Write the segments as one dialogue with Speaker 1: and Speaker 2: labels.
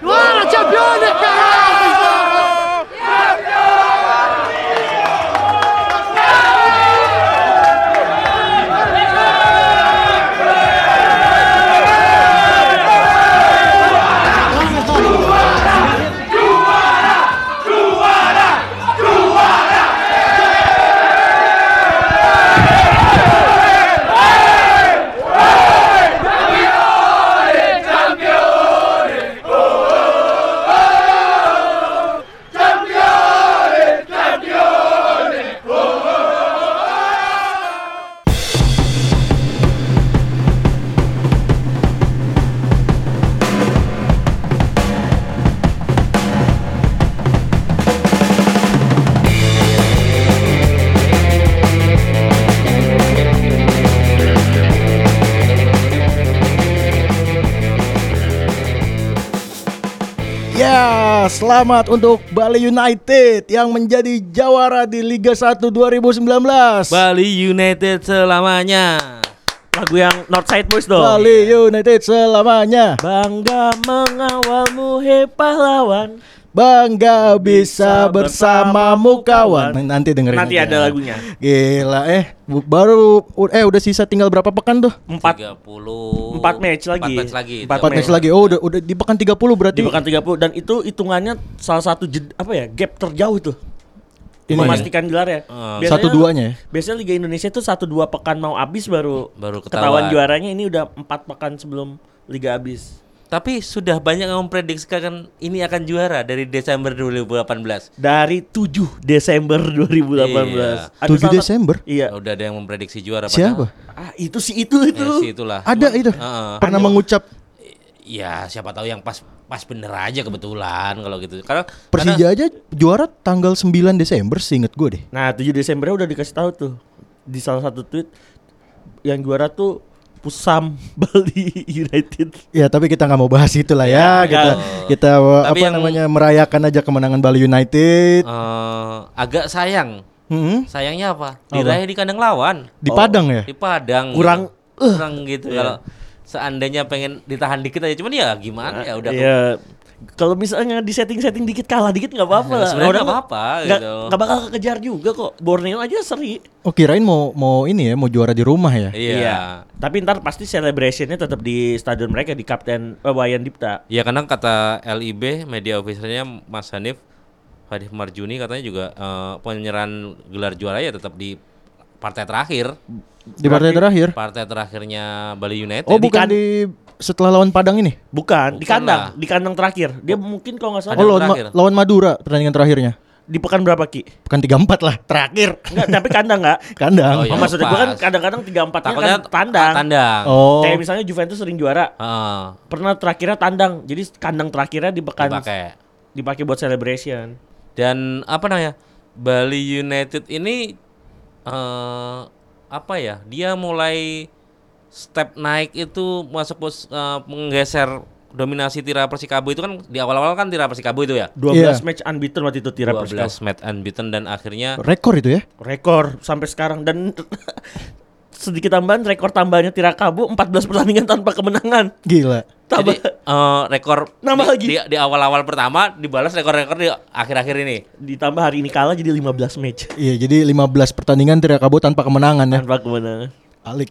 Speaker 1: Guarda, campione, cazzo!
Speaker 2: Ya, selamat untuk Bali United yang menjadi jawara di Liga 1 2019.
Speaker 3: Bali United selamanya. Lagu yang Northside Boys dong.
Speaker 2: Bali United selamanya.
Speaker 3: Bangga mengawalmu he pahlawan.
Speaker 2: Bangga bisa bersamamu kawan. Nah, Nanti dengerin.
Speaker 3: Nanti
Speaker 2: aja.
Speaker 3: ada lagunya.
Speaker 2: Gila eh bu- baru eh udah sisa tinggal berapa pekan tuh?
Speaker 3: 4
Speaker 4: 30
Speaker 3: Empat match lagi.
Speaker 4: Empat match lagi.
Speaker 3: Empat
Speaker 2: 4 match
Speaker 3: Mei.
Speaker 2: lagi. Oh udah udah di pekan 30 berarti.
Speaker 3: di pekan 30 dan itu hitungannya salah satu jed- apa ya gap terjauh tuh
Speaker 2: Ini
Speaker 3: memastikan gelar ya. Biasanya-
Speaker 2: satu duanya ya.
Speaker 3: Biasanya Liga Indonesia tuh satu dua pekan mau habis baru
Speaker 4: Baru
Speaker 3: ketahuan
Speaker 4: ketahuan.
Speaker 3: juaranya ini udah empat pekan sebelum liga habis.
Speaker 4: Tapi sudah banyak yang memprediksikan ini akan juara dari Desember 2018.
Speaker 3: Dari 7 Desember 2018. Ada
Speaker 2: 7
Speaker 3: salah-
Speaker 2: Desember?
Speaker 3: Iya.
Speaker 4: Udah ada yang memprediksi juara
Speaker 2: Ya. Siapa?
Speaker 3: Ah, itu sih itu itu.
Speaker 4: padahal- Eh, si itulah.
Speaker 2: Ada
Speaker 4: Cuman,
Speaker 2: itu.
Speaker 4: Heeh.
Speaker 3: Ah,
Speaker 2: Pernah mengucap
Speaker 4: Ya, siapa tahu yang pas pas bener aja kebetulan kalau gitu. Karena
Speaker 2: Persija aja juara tanggal 9 Desember seinget gue deh.
Speaker 3: Nah, 7 Desember udah dikasih tahu tuh di salah satu tweet yang juara tuh Pusam Bali United.
Speaker 2: Ya tapi kita nggak mau bahas itu lah ya, kita kita uh,
Speaker 4: Tapi
Speaker 2: apa
Speaker 4: yang-
Speaker 2: namanya merayakan aja kemenangan Bali
Speaker 4: karena,
Speaker 2: United
Speaker 4: eh, agak sayang.
Speaker 2: Hmm,
Speaker 4: Sayangnya apa? Diraih di kandang lawan.
Speaker 2: di Padang ya. eh. Iya.
Speaker 4: Di Padang.
Speaker 3: Kurang-
Speaker 4: gitu. kurang gitu kalau seandainya pengen ditahan dikit aja cuman ya gimana ya udah
Speaker 3: Iya. Kalau misalnya di setting-setting dikit kalah dikit nggak apa-apa
Speaker 4: Ya,
Speaker 3: lah.
Speaker 4: sebenarnya
Speaker 3: Orang
Speaker 4: nggak apa-apa
Speaker 3: nggak-
Speaker 4: gitu.
Speaker 3: nggak bakal kekejar juga kok. Borneo aja seri.
Speaker 2: Oh kirain mau mau ini ya, mau juara di rumah ya.
Speaker 4: Iya.
Speaker 3: Tapi ntar pasti celebrationnya tetap di stadion mereka di Kapten eh, Wayan Dipta.
Speaker 4: Ya karena kata LIB media officernya Mas Hanif Hanif Marjuni katanya juga eh, penyerahan gelar juara ya tetap di partai terakhir.
Speaker 2: Di partai terakhir.
Speaker 4: Partai terakhirnya Bali United.
Speaker 2: Oh bukan
Speaker 3: kan-
Speaker 2: di setelah lawan Padang ini.
Speaker 3: Bukan, di
Speaker 4: Bukan
Speaker 3: kandang,
Speaker 4: lah.
Speaker 3: di kandang terakhir. Dia mungkin kalau nggak salah
Speaker 4: Ada
Speaker 2: Oh
Speaker 4: yang
Speaker 2: lawan, Ma-
Speaker 4: terakhir.
Speaker 2: lawan Madura pertandingan terakhirnya.
Speaker 3: di pekan berapa ki?
Speaker 2: Bukan 34 lah, terakhir.
Speaker 3: Enggak, tapi kandang nggak?
Speaker 2: Kandang.
Speaker 4: Oh,
Speaker 3: Oh,
Speaker 4: iya.
Speaker 3: maksudnya gue kan
Speaker 4: pas.
Speaker 3: kadang-kadang tiga empatnya kan
Speaker 4: Takutnya
Speaker 3: tandang.
Speaker 4: Tandang.
Speaker 2: Oh.
Speaker 3: Kayak misalnya Juventus sering juara,
Speaker 4: Heeh,
Speaker 3: pernah terakhirnya tandang. Jadi kandang terakhirnya
Speaker 2: Kan
Speaker 3: dipekan
Speaker 4: dipakai.
Speaker 3: dipakai buat celebration.
Speaker 4: Dan apa namanya? Bali United ini eh apa ya? Dia mulai step naik itu masuk pos eh, menggeser dominasi Tira Persikabo itu kan di awal-awal kan Tira Persikabo itu ya.
Speaker 3: 12
Speaker 2: Iya.
Speaker 3: match unbeaten waktu itu Tira
Speaker 4: 12
Speaker 3: Persikabo.
Speaker 4: match unbeaten dan akhirnya
Speaker 2: Rekor itu ya.
Speaker 3: Rekor sampai sekarang dan sedikit tambahan rekor tambahannya Tira Kabo 14 pertandingan tanpa kemenangan.
Speaker 2: Gila.
Speaker 3: Tambah
Speaker 4: jadi eh, rekor
Speaker 3: Nambah
Speaker 4: di-
Speaker 3: lagi.
Speaker 4: di, di awal-awal pertama dibalas rekor-rekor di akhir-akhir ini.
Speaker 3: ditambah hari ini kalah jadi 15 match
Speaker 2: Iya, jadi 15 pertandingan Triakabo tanpa kemenangan ya.
Speaker 3: tanpa kemenangan.
Speaker 2: Alik.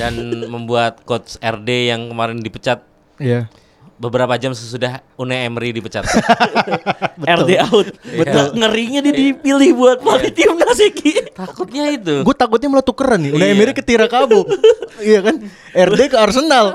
Speaker 4: dan membuat coach RD yang kemarin dipecat
Speaker 2: Iya.
Speaker 4: beberapa jam sesudah Une Emery dipecat.
Speaker 3: RD out.
Speaker 4: Iya.
Speaker 3: Betul. Ngerinya dia dipilih buat pelatih timnas ya, Ki.
Speaker 4: Takutnya itu.
Speaker 2: Gue takutnya malah tukeran nih. Udah
Speaker 4: Iya.
Speaker 2: Emery ke Tirakabo. iya kan? RD ke Arsenal.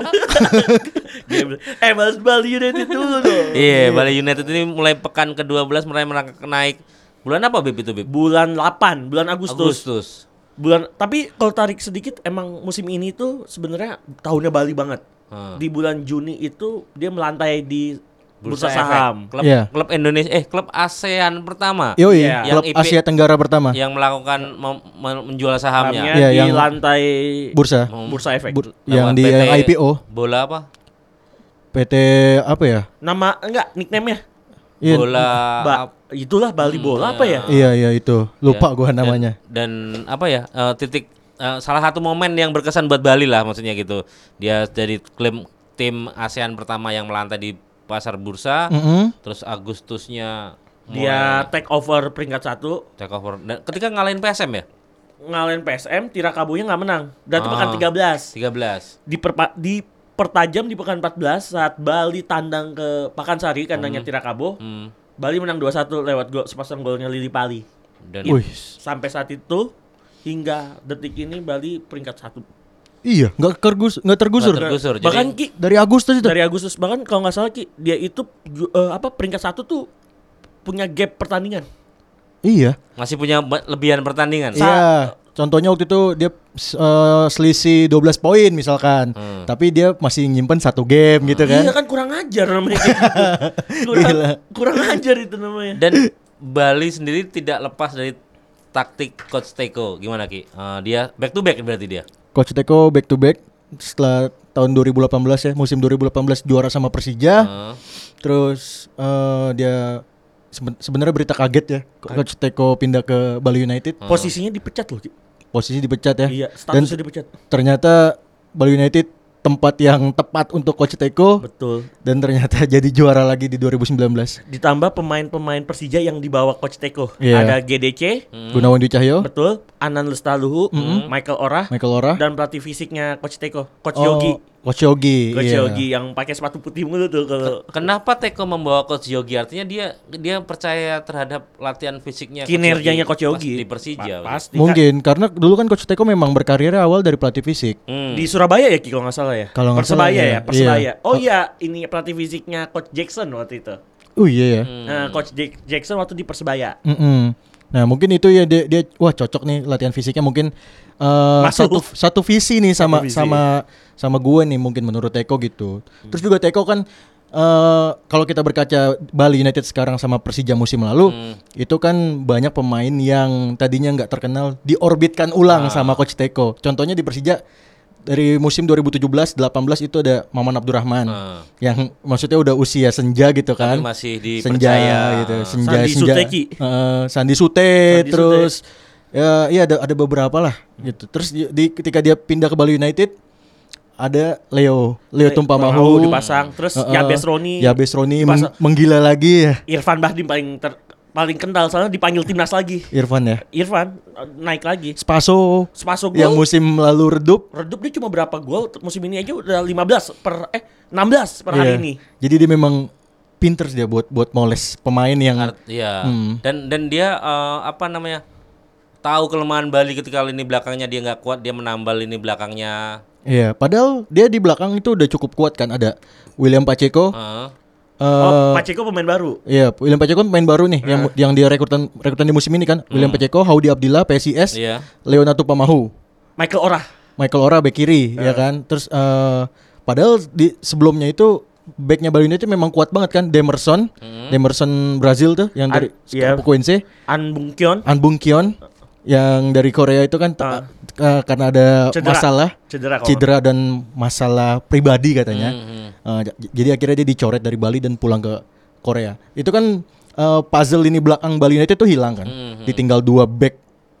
Speaker 3: Dia bilang, eh Mas Bali United dulu dong.
Speaker 4: Iya, Bali United ini mulai pekan ke-12 mulai merangkak naik. Bulan apa Beb itu Beb?
Speaker 3: Bulan 8, bulan Agustus.
Speaker 4: Agustus.
Speaker 3: Bulan tapi kalau tarik sedikit emang musim ini tuh sebenarnya tahunnya Bali banget.
Speaker 4: Hmm.
Speaker 3: Di bulan Juni itu dia melantai di bursa,
Speaker 4: Bursa efek.
Speaker 3: saham.
Speaker 4: Klub
Speaker 2: Iya.
Speaker 4: klub Indonesia eh klub ASEAN pertama
Speaker 2: Yoi,
Speaker 3: Iya.
Speaker 2: klub
Speaker 4: Yang IP Iya.
Speaker 2: Asia Tenggara pertama.
Speaker 4: yang melakukan mem- men- menjual sahamnya.
Speaker 3: Sahamnya
Speaker 2: Iya,
Speaker 3: di
Speaker 2: yang-
Speaker 3: lantai
Speaker 2: Bursa.
Speaker 4: Mem-
Speaker 3: bursa efek.
Speaker 2: Bur- yang
Speaker 4: lewat
Speaker 2: di
Speaker 4: PT
Speaker 2: IPO.
Speaker 4: Bola apa?
Speaker 2: PT apa ya?
Speaker 3: Nama enggak nickname-nya?
Speaker 2: Iya.
Speaker 4: Bola
Speaker 3: Ba-
Speaker 4: Hmm,
Speaker 3: itulah Bali Bola apa ya?
Speaker 2: Iya, iya itu. Lupa gua namanya.
Speaker 4: dan apa ya? eh, titik eh, salah satu momen yang berkesan buat Bali lah maksudnya gitu. Dia jadi klaim tim ASEAN pertama yang melantai di pasar bursa.
Speaker 2: Mm-mm.
Speaker 4: Terus Agustusnya
Speaker 3: Dia take over peringkat satu,
Speaker 4: mulai take over. Dan ketika ngalahin PSM ya?
Speaker 3: ngalahin PSM, Tirakabunya nggak menang. Dan itu
Speaker 4: Ah.
Speaker 3: pekan 13.
Speaker 4: 13.
Speaker 3: Di dipertajam di pekan 14 saat Bali tandang ke Pakansari kandangnya Tirakabo.
Speaker 4: Hmm.
Speaker 3: Bali menang 2-1 lewat gol sepasang golnya Lili Pali.
Speaker 4: Dan
Speaker 2: Iya. Wih,
Speaker 3: Sampai saat itu hingga detik ini Bali peringkat satu.
Speaker 2: iya, nggak kergus, nggak tergusur.
Speaker 4: tergusur. Jadi-
Speaker 3: Bahkan Ki
Speaker 2: Dari Agustus itu.
Speaker 3: dari Agustus bahkan kalau nggak salah Ki dia itu ju- eh, apa peringkat satu tuh punya gap pertandingan.
Speaker 2: Iya.
Speaker 4: masih punya ba- lebihan pertandingan.
Speaker 2: Iya. Contohnya waktu itu dia eh, selisih 12 poin misalkan,
Speaker 4: Hmm.
Speaker 2: tapi dia masih nyimpen satu game gitu kan.
Speaker 3: Iya kan kurang ajar namanya kayak gitu. kurang,
Speaker 2: Gila.
Speaker 3: kurang ajar itu namanya.
Speaker 4: Dan Bali sendiri tidak lepas dari taktik coach Teko. Gimana Ki? Eh, dia back to back berarti dia.
Speaker 2: Coach Teko back to back setelah tahun 2018 ya, musim 2018 juara sama Persija.
Speaker 4: Eh,
Speaker 2: Terus eh, dia seben- sebenarnya berita kaget ya, Coach Teko pindah ke Bali United,
Speaker 3: Hmm. Posisinya dipecat loh Ki.
Speaker 2: posisi dipecat ya.
Speaker 3: Iya,
Speaker 2: Dan
Speaker 3: statusnya dipecat.
Speaker 2: ternyata Bali United tempat yang tepat untuk Coach Teko
Speaker 3: Betul.
Speaker 2: dan ternyata jadi juara lagi di 2019.
Speaker 3: Ditambah pemain-pemain Persija yang dibawa coach Teko.
Speaker 2: Iya.
Speaker 3: Ada GDC,
Speaker 4: Hmm.
Speaker 2: Gunawan Dwi Cahyo,
Speaker 3: betul, Anan Lestaluhu, Michael Orah,
Speaker 2: Michael Ora,
Speaker 3: dan pelatih fisiknya coach Teko, coach
Speaker 2: Oh,
Speaker 3: Yogi.
Speaker 2: Coach Yogi.
Speaker 3: Coach
Speaker 2: iya.
Speaker 3: Yogi yang pakai sepatu putih mulu tuh
Speaker 4: Iya,
Speaker 3: kalau
Speaker 4: Kenapa Teko membawa coach Yogi? Artinya dia dia percaya terhadap latihan fisiknya Coach
Speaker 3: kinerjanya coach
Speaker 4: pas
Speaker 3: Yogi.
Speaker 4: di Persija. gitu.
Speaker 3: Pa- pasti.
Speaker 2: Mungkin karena dulu kan Coach Teko memang berkarirnya awal dari pelatih fisik.
Speaker 4: Hmm.
Speaker 3: Di Surabaya ya Ki kalau nggak salah ya.
Speaker 2: Kalau nggak
Speaker 3: Persebaya
Speaker 2: salah,
Speaker 3: ya,
Speaker 2: iya.
Speaker 3: Persebaya.
Speaker 2: Iya.
Speaker 3: Oh iya, ini pelatih fisiknya coach Jackson waktu itu.
Speaker 2: Oh iya ya.
Speaker 4: Hmm.
Speaker 3: Nah, coach Jack- Jackson waktu di Persebaya.
Speaker 2: Mm-mm. Nah mungkin itu ya dia, dia wah cocok nih latihan fisiknya mungkin eh,
Speaker 3: Masuk.
Speaker 2: satu satu visi nih sama
Speaker 3: Satu visi.
Speaker 2: sama sama gue nih mungkin menurut Teko gitu. Terus juga Teko kan eh, kalau kita berkaca Bali United sekarang sama Persija musim lalu itu kan banyak pemain yang tadinya nggak terkenal diorbitkan ulang sama coach Teko. Contohnya di Persija dari musim 2017-18 itu ada Maman Abdurrahman
Speaker 4: Ah.
Speaker 2: yang maksudnya udah usia senja gitu kan
Speaker 4: Tapi masih
Speaker 2: senja
Speaker 4: dipercaya.
Speaker 2: gitu senja
Speaker 3: Sandi
Speaker 2: senja
Speaker 3: Sute, Ki.
Speaker 2: Heeh, Sandi Sute
Speaker 3: Sute.
Speaker 2: terus ya iya ada ada beberapa lah gitu terus di, di- ketika dia pindah ke Bali United ada Leo Leo Tumpamahu
Speaker 3: dipasang, terus
Speaker 2: Heeh.
Speaker 3: Yabes Roni.
Speaker 2: Yabes Roni meng-
Speaker 3: dipasang.
Speaker 2: menggila lagi ya
Speaker 3: Irfan Bahdim paling ter- paling kental soalnya dipanggil timnas lagi.
Speaker 2: Irfan ya
Speaker 3: Irfan eh, naik lagi.
Speaker 2: Spaso
Speaker 3: Spaso
Speaker 2: yang
Speaker 3: gol.
Speaker 2: musim lalu redup
Speaker 3: Redup dia cuma berapa gol musim ini aja udah 15 per eh 16 per hari
Speaker 2: Iya.
Speaker 3: ini.
Speaker 2: jadi dia memang pinter dia buat buat moles pemain yang
Speaker 4: Art- iya.
Speaker 3: Hmm.
Speaker 4: Dan dan dia eh, apa namanya? Tahu kelemahan Bali ketika lini belakangnya dia nggak kuat, dia menambal lini belakangnya.
Speaker 2: Iya, padahal dia di belakang itu udah cukup kuat kan ada William Pacheco,
Speaker 4: Eh,
Speaker 3: Oh,
Speaker 2: eh,
Speaker 3: Pacheco pemain baru.
Speaker 2: Iya, William Pacheco kan pemain baru nih yang
Speaker 3: Nah.
Speaker 2: yang dia rekrutan rekrutan di musim ini kan. William
Speaker 3: Hmm.
Speaker 2: Pacheco, Haudi Abdillah, PSIS,
Speaker 4: Iya.
Speaker 2: Leonardo Pamahu,
Speaker 3: Michael Orah.
Speaker 2: Michael Ora bek kiri,
Speaker 3: Nah.
Speaker 2: ya kan. Terus eh, padahal di sebelumnya itu backnya Bali United memang kuat banget kan. Demerson, Demerson Brazil tuh yang dari
Speaker 3: Hmm. An- iya.
Speaker 2: Pukuense,
Speaker 3: An Bungkyon
Speaker 2: An Bung Kion yang dari Korea itu kan te-
Speaker 3: Ah.
Speaker 2: eh, karena ada
Speaker 3: Cedera.
Speaker 2: masalah
Speaker 3: cedera kalau Hmm,
Speaker 2: cedera dan masalah pribadi katanya.
Speaker 4: Mhm.
Speaker 2: Eh, j- jadi akhirnya dia dicoret dari Bali dan pulang ke Korea. Itu kan eh, puzzle ini belakang Bali United itu hilang kan.
Speaker 3: Hmm,
Speaker 2: Ditinggal dua back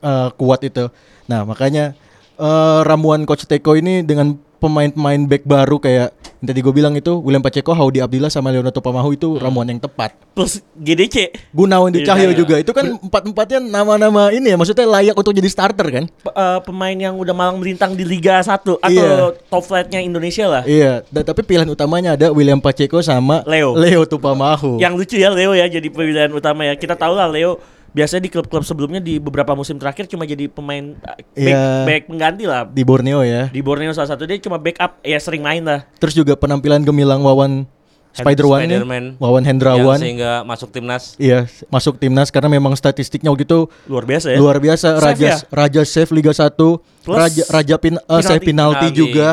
Speaker 2: eh, kuat itu. Nah, makanya eh, ramuan coach Teko ini dengan pemain-pemain back baru kayak yang tadi gue bilang itu William Pacheco, Haudi Abdillah sama Leonardo Pamahu itu ramuan yang tepat.
Speaker 3: plus GDC.
Speaker 2: Gunawan Dwi
Speaker 3: Hmm. Iya,
Speaker 2: Cahyo
Speaker 3: iya.
Speaker 2: juga itu kan empat-empatnya nama-nama ini ya maksudnya layak untuk jadi starter kan.
Speaker 3: P- eh, pemain yang udah malang melintang di Liga 1 atau
Speaker 2: Iya.
Speaker 3: top flight-nya Indonesia lah.
Speaker 2: Iya, da- tapi pilihan utamanya ada William Pacheco sama
Speaker 3: Leo.
Speaker 2: Leo Tupamahu.
Speaker 3: Yang lucu ya Leo ya jadi pilihan utama ya. Kita tahu lah Leo biasanya di klub-klub sebelumnya di beberapa musim terakhir cuma jadi pemain eh, back,
Speaker 2: Iya.
Speaker 3: back pengganti lah.
Speaker 2: di Borneo ya.
Speaker 3: Di Borneo salah satu dia cuma backup ya sering main lah.
Speaker 2: Terus juga penampilan gemilang Wawan Spiderman, nih,
Speaker 4: Spiderman.
Speaker 2: Wawan Hendrawan.
Speaker 4: Yang sehingga masuk timnas.
Speaker 2: Iya, masuk timnas karena memang statistiknya gitu
Speaker 3: Luar biasa ya.
Speaker 2: luar biasa.
Speaker 3: Save
Speaker 2: Raja
Speaker 3: ya?
Speaker 2: Raja save Liga 1,
Speaker 3: Plus
Speaker 2: Raja Raja pin, eh,
Speaker 3: penalti.
Speaker 2: save penalti
Speaker 4: Penalti.
Speaker 2: juga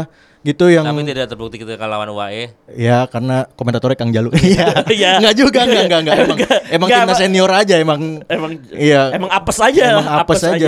Speaker 2: gitu yang
Speaker 4: Tapi tidak terbukti ketika lawan E. UAE.
Speaker 2: ya karena komentatornya Kang Jalu. Iya.
Speaker 3: Iya.
Speaker 2: Enggak juga, enggak enggak enggak emang emang
Speaker 3: Enggak,
Speaker 2: timnas
Speaker 3: Pak.
Speaker 2: senior aja emang
Speaker 3: Emang
Speaker 2: Iya.
Speaker 3: Emang apes aja.
Speaker 2: emang apes aja.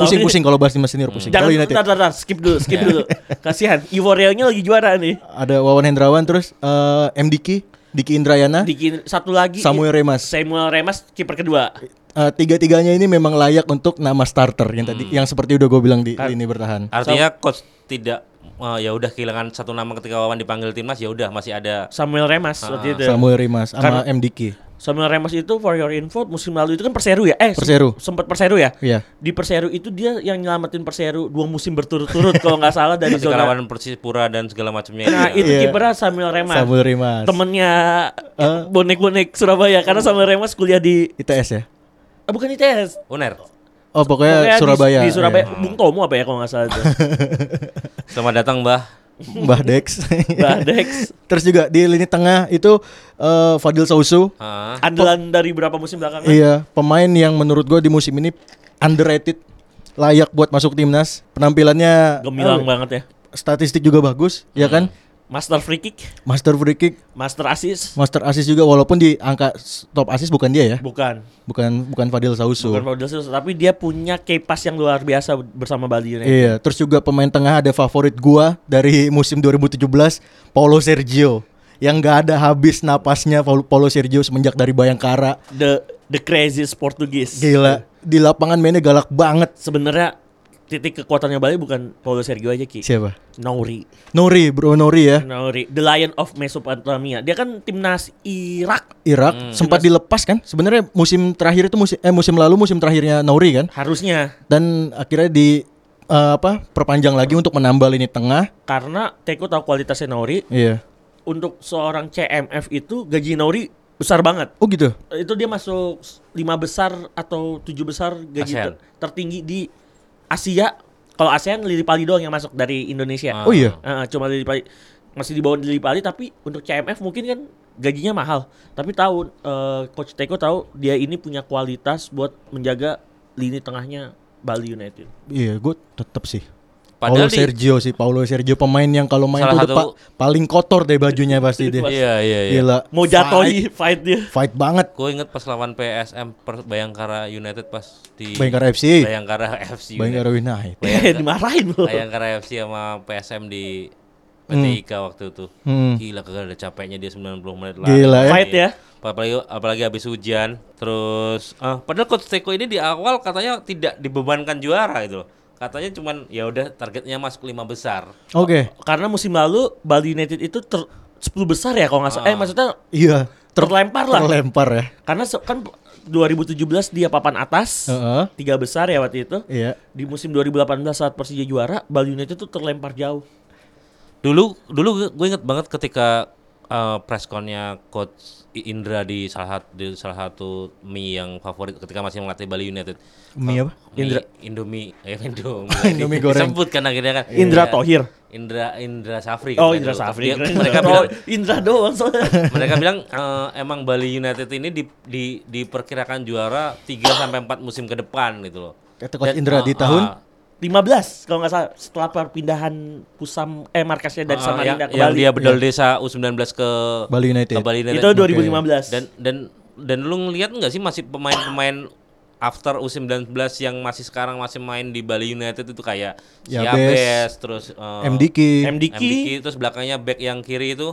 Speaker 2: Pusing-pusing kalau bahas timnas senior pusing. Kalau
Speaker 3: Jangan,
Speaker 2: United Iya.
Speaker 3: bentar, bentar, bentar. skip dulu, skip dulu. Kasihan, Ivorealnya lagi juara nih.
Speaker 2: ada Wawan Hendrawan terus eh, MDK, Diki Indrayana,
Speaker 3: Diki- satu lagi
Speaker 2: Samuel Remas.
Speaker 3: Samuel Remas kiper kedua.
Speaker 2: eh, tiga-tiganya ini memang layak untuk nama starter yang tadi
Speaker 3: Hmm.
Speaker 2: yang seperti udah gue bilang di lini bertahan.
Speaker 4: Artinya coach tidak eh, ya udah kehilangan satu nama ketika Wawan dipanggil timnas ya udah masih ada
Speaker 3: Samuel Remas waktu itu.
Speaker 2: Samuel Rimas sama MDK.
Speaker 3: Samuel Remas itu for your info musim lalu itu kan Perseru ya? Eh,
Speaker 2: Perseru.
Speaker 3: sempat Perseru ya?
Speaker 2: Iya.
Speaker 3: Di Perseru itu dia yang nyelamatin Perseru dua musim berturut-turut kalau nggak salah dari
Speaker 4: ketika
Speaker 3: zona.
Speaker 4: lawan Persipura dan segala macamnya.
Speaker 3: Nah,
Speaker 4: Iya.
Speaker 3: itu
Speaker 2: Iya.
Speaker 3: kipernya Samuel Remas.
Speaker 2: Samuel Rimas.
Speaker 3: Temennya bonek-bonek Surabaya karena Samuel Remas kuliah di
Speaker 2: ITS ya.
Speaker 3: ah, bukan ITS.
Speaker 4: Uner.
Speaker 2: Oh
Speaker 3: Pokoknya
Speaker 2: pokoknya
Speaker 3: di-
Speaker 2: Surabaya.
Speaker 3: Di, Surabaya
Speaker 2: iya.
Speaker 3: Bung Tomo apa ya kalau nggak salah itu.
Speaker 4: Selamat datang, Mbah.
Speaker 2: Mbah Dex.
Speaker 3: Badex.
Speaker 2: Terus juga di lini tengah itu eh, Fadil Sausu.
Speaker 4: Ah.
Speaker 3: Andalan dari berapa musim belakangan?
Speaker 2: Iya, pemain yang menurut gue di musim ini underrated, layak buat masuk timnas. Penampilannya
Speaker 3: Gemilang
Speaker 2: eh,
Speaker 3: banget Hmm. ya.
Speaker 2: statistik juga bagus, ya kan?
Speaker 3: Master free kick,
Speaker 2: Master free kick,
Speaker 3: master assist.
Speaker 2: master assist juga walaupun di angka s- top assist bukan dia ya.
Speaker 3: Bukan.
Speaker 2: Bukan bukan Fadil Sausu.
Speaker 3: Bukan Paul Silva, tapi dia punya kepas yang luar biasa bersama Bali United.
Speaker 2: Iya, terus juga pemain tengah ada favorit gua dari musim 2017, Paulo Sergio. Yang gak ada habis napasnya Paul- Paulo Sergio semenjak dari Bayangkara.
Speaker 3: The the craziest Portugis.
Speaker 2: Gila, di lapangan mainnya galak banget.
Speaker 3: Sebenarnya titik kekuatannya Bali bukan Paulo Sergio aja Ki.
Speaker 2: Siapa?
Speaker 3: Nouri.
Speaker 2: Nori, Bro Nori ya.
Speaker 3: Nouri, the Lion of Mesopotamia. Dia kan timnas Irak
Speaker 2: Irak sempat dilepas kan? Sebenarnya musim terakhir itu musim eh musim lalu musim terakhirnya Nauri kan?
Speaker 3: harusnya
Speaker 2: Dan akhirnya di eh, apa? perpanjang lagi untuk menambah lini tengah.
Speaker 3: karena Teko tahu kualitasnya Nouri.
Speaker 2: Iya.
Speaker 3: Untuk seorang CMF itu gaji Nouri besar banget.
Speaker 2: Oh gitu.
Speaker 3: Itu dia masuk lima besar atau tujuh besar gaji ter-
Speaker 4: ASEAN.
Speaker 3: tertinggi di Asia. Kalau ASEAN Lili Pali doang yang masuk dari Indonesia.
Speaker 4: Ah.
Speaker 2: Oh iya.
Speaker 3: Heeh, cuma Lili Pali masih di bawah Lili Pali tapi untuk CMF mungkin kan gajinya mahal. Tapi tahu eh, coach Teko tahu dia ini punya kualitas buat menjaga lini tengahnya Bali United.
Speaker 2: Iya, gue tetap sih. Paulo
Speaker 4: Padahal di-
Speaker 2: Sergio sih, Paulo Sergio pemain yang kalau main
Speaker 4: Salah
Speaker 2: tuh udah
Speaker 4: satu-
Speaker 2: pa- paling kotor deh bajunya pasti dia.
Speaker 4: Iya, iya, iya.
Speaker 2: Gila.
Speaker 3: Mau jatuh di fight dia.
Speaker 2: Fight, fight banget.
Speaker 4: Gue inget pas lawan PSM per- Bayangkara United pas di
Speaker 2: Bayangkara FC.
Speaker 4: Bayangkara FC. United.
Speaker 2: Bayangkara
Speaker 4: Iya.
Speaker 2: United.
Speaker 3: Dimarahin loh.
Speaker 4: Bayangkara FC sama PSM di PTIK waktu itu.
Speaker 2: Hmm.
Speaker 4: Gila kagak ada capeknya dia 90 menit
Speaker 2: Gila ya.
Speaker 3: Fight ya.
Speaker 4: Apalagi apalagi habis hujan. Terus ah, padahal coach Teko ini di awal katanya tidak dibebankan juara gitu loh. Katanya cuman ya udah targetnya masuk lima besar.
Speaker 2: Oke.
Speaker 3: Karena musim lalu Bali United itu ter 10 besar ya kalau nggak salah. Eh maksudnya
Speaker 2: Iya. Ter-
Speaker 3: Terlempar lah.
Speaker 2: Terlempar ya.
Speaker 3: karena se- kan 2017 dia papan atas.
Speaker 2: Heeh.
Speaker 3: Tiga besar ya waktu itu.
Speaker 2: Iya.
Speaker 3: Di musim 2018 saat Persija juara, Bali United tuh terlempar jauh.
Speaker 4: Dulu dulu gue inget banget ketika eh, press pressconnya coach I- Indra di salah satu di salah satu mie yang favorit ketika masih melatih Bali United.
Speaker 2: Mie apa?
Speaker 4: Mie Indomie, eh Indomie.
Speaker 2: Indomie goreng.
Speaker 4: Disebut kan akhirnya kan.
Speaker 3: Indra
Speaker 4: Iya.
Speaker 3: Tohir.
Speaker 4: Indra Indra Safri.
Speaker 3: Oh
Speaker 4: katanya
Speaker 3: Indra
Speaker 4: dulu.
Speaker 3: Safri.
Speaker 4: Iya, Dia-
Speaker 3: Keren.
Speaker 4: mereka
Speaker 3: Oh,
Speaker 4: bilang
Speaker 3: Indra doang soalnya.
Speaker 4: mereka bilang eh, emang Bali United ini di, di, diperkirakan juara 3 sampai 4 musim ke depan gitu loh.
Speaker 2: Kata Coach
Speaker 4: Dan,
Speaker 2: Indra
Speaker 4: eh,
Speaker 2: di
Speaker 4: eh,
Speaker 2: tahun
Speaker 3: 15 kalau nggak salah setelah perpindahan pusam eh markasnya
Speaker 4: eh,
Speaker 3: dari Samarinda ke
Speaker 4: yang, yang
Speaker 3: Bali.
Speaker 4: dia bedol desa U19 ke
Speaker 2: Iya. Bali United.
Speaker 4: ke Bali United.
Speaker 3: itu 2015.
Speaker 4: Dan dan dan lu ngelihat nggak sih masih pemain-pemain after U19 yang masih sekarang masih main di Bali United itu kayak
Speaker 2: Yabes,
Speaker 4: Yabes, terus eh,
Speaker 2: MDK.
Speaker 3: MDK,
Speaker 4: MDK, terus belakangnya back yang kiri itu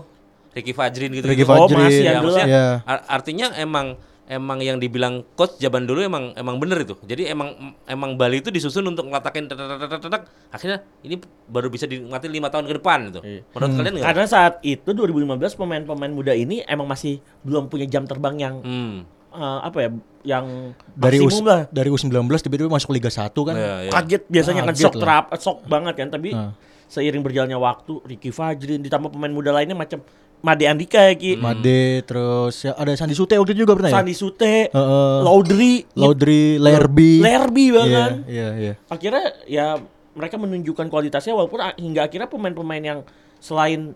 Speaker 4: Ricky Fajrin gitu.
Speaker 2: Ricky
Speaker 4: gitu.
Speaker 2: Fajrin.
Speaker 3: masih yang
Speaker 4: Ya,
Speaker 3: dulu.
Speaker 4: maksudnya
Speaker 2: Iya.
Speaker 4: ar- artinya emang emang yang dibilang coach zaman dulu emang emang bener itu. Jadi emang emang Bali itu disusun untuk ngelatakin tek, tek, tek, tek, tek, tek. akhirnya ini baru bisa dinikmati lima tahun ke depan gitu. Menurut kalian nggak?
Speaker 3: Karena saat itu 2015 pemain-pemain muda ini emang masih belum punya jam terbang yang
Speaker 4: Hmm.
Speaker 3: eh, apa ya, yang
Speaker 2: Dari us
Speaker 3: maksimum lah.
Speaker 2: dari U19 tiba-tiba masuk Liga 1 kan.
Speaker 4: Iya, iya.
Speaker 3: Kaget biasanya kan
Speaker 2: Ah, Kaget
Speaker 3: shock
Speaker 2: lah.
Speaker 3: terap, shock banget kan. Tapi
Speaker 2: Nah.
Speaker 3: seiring berjalannya waktu, Ricky Fajrin ditambah pemain muda lainnya macam Made Andika ya Ki,
Speaker 2: Hmm. Made
Speaker 4: Hmm.
Speaker 2: terus ya, ada Sandi Sute waktu itu juga pernah ya?
Speaker 3: Sandi Sute,
Speaker 2: Heeh.
Speaker 3: Laudri,
Speaker 2: Laudri, Lerby.
Speaker 3: Lerby
Speaker 2: Iya,
Speaker 4: kan?
Speaker 3: bahkan.
Speaker 2: iya, iya.
Speaker 3: akhirnya ya mereka menunjukkan kualitasnya walaupun a- hingga akhirnya pemain-pemain yang selain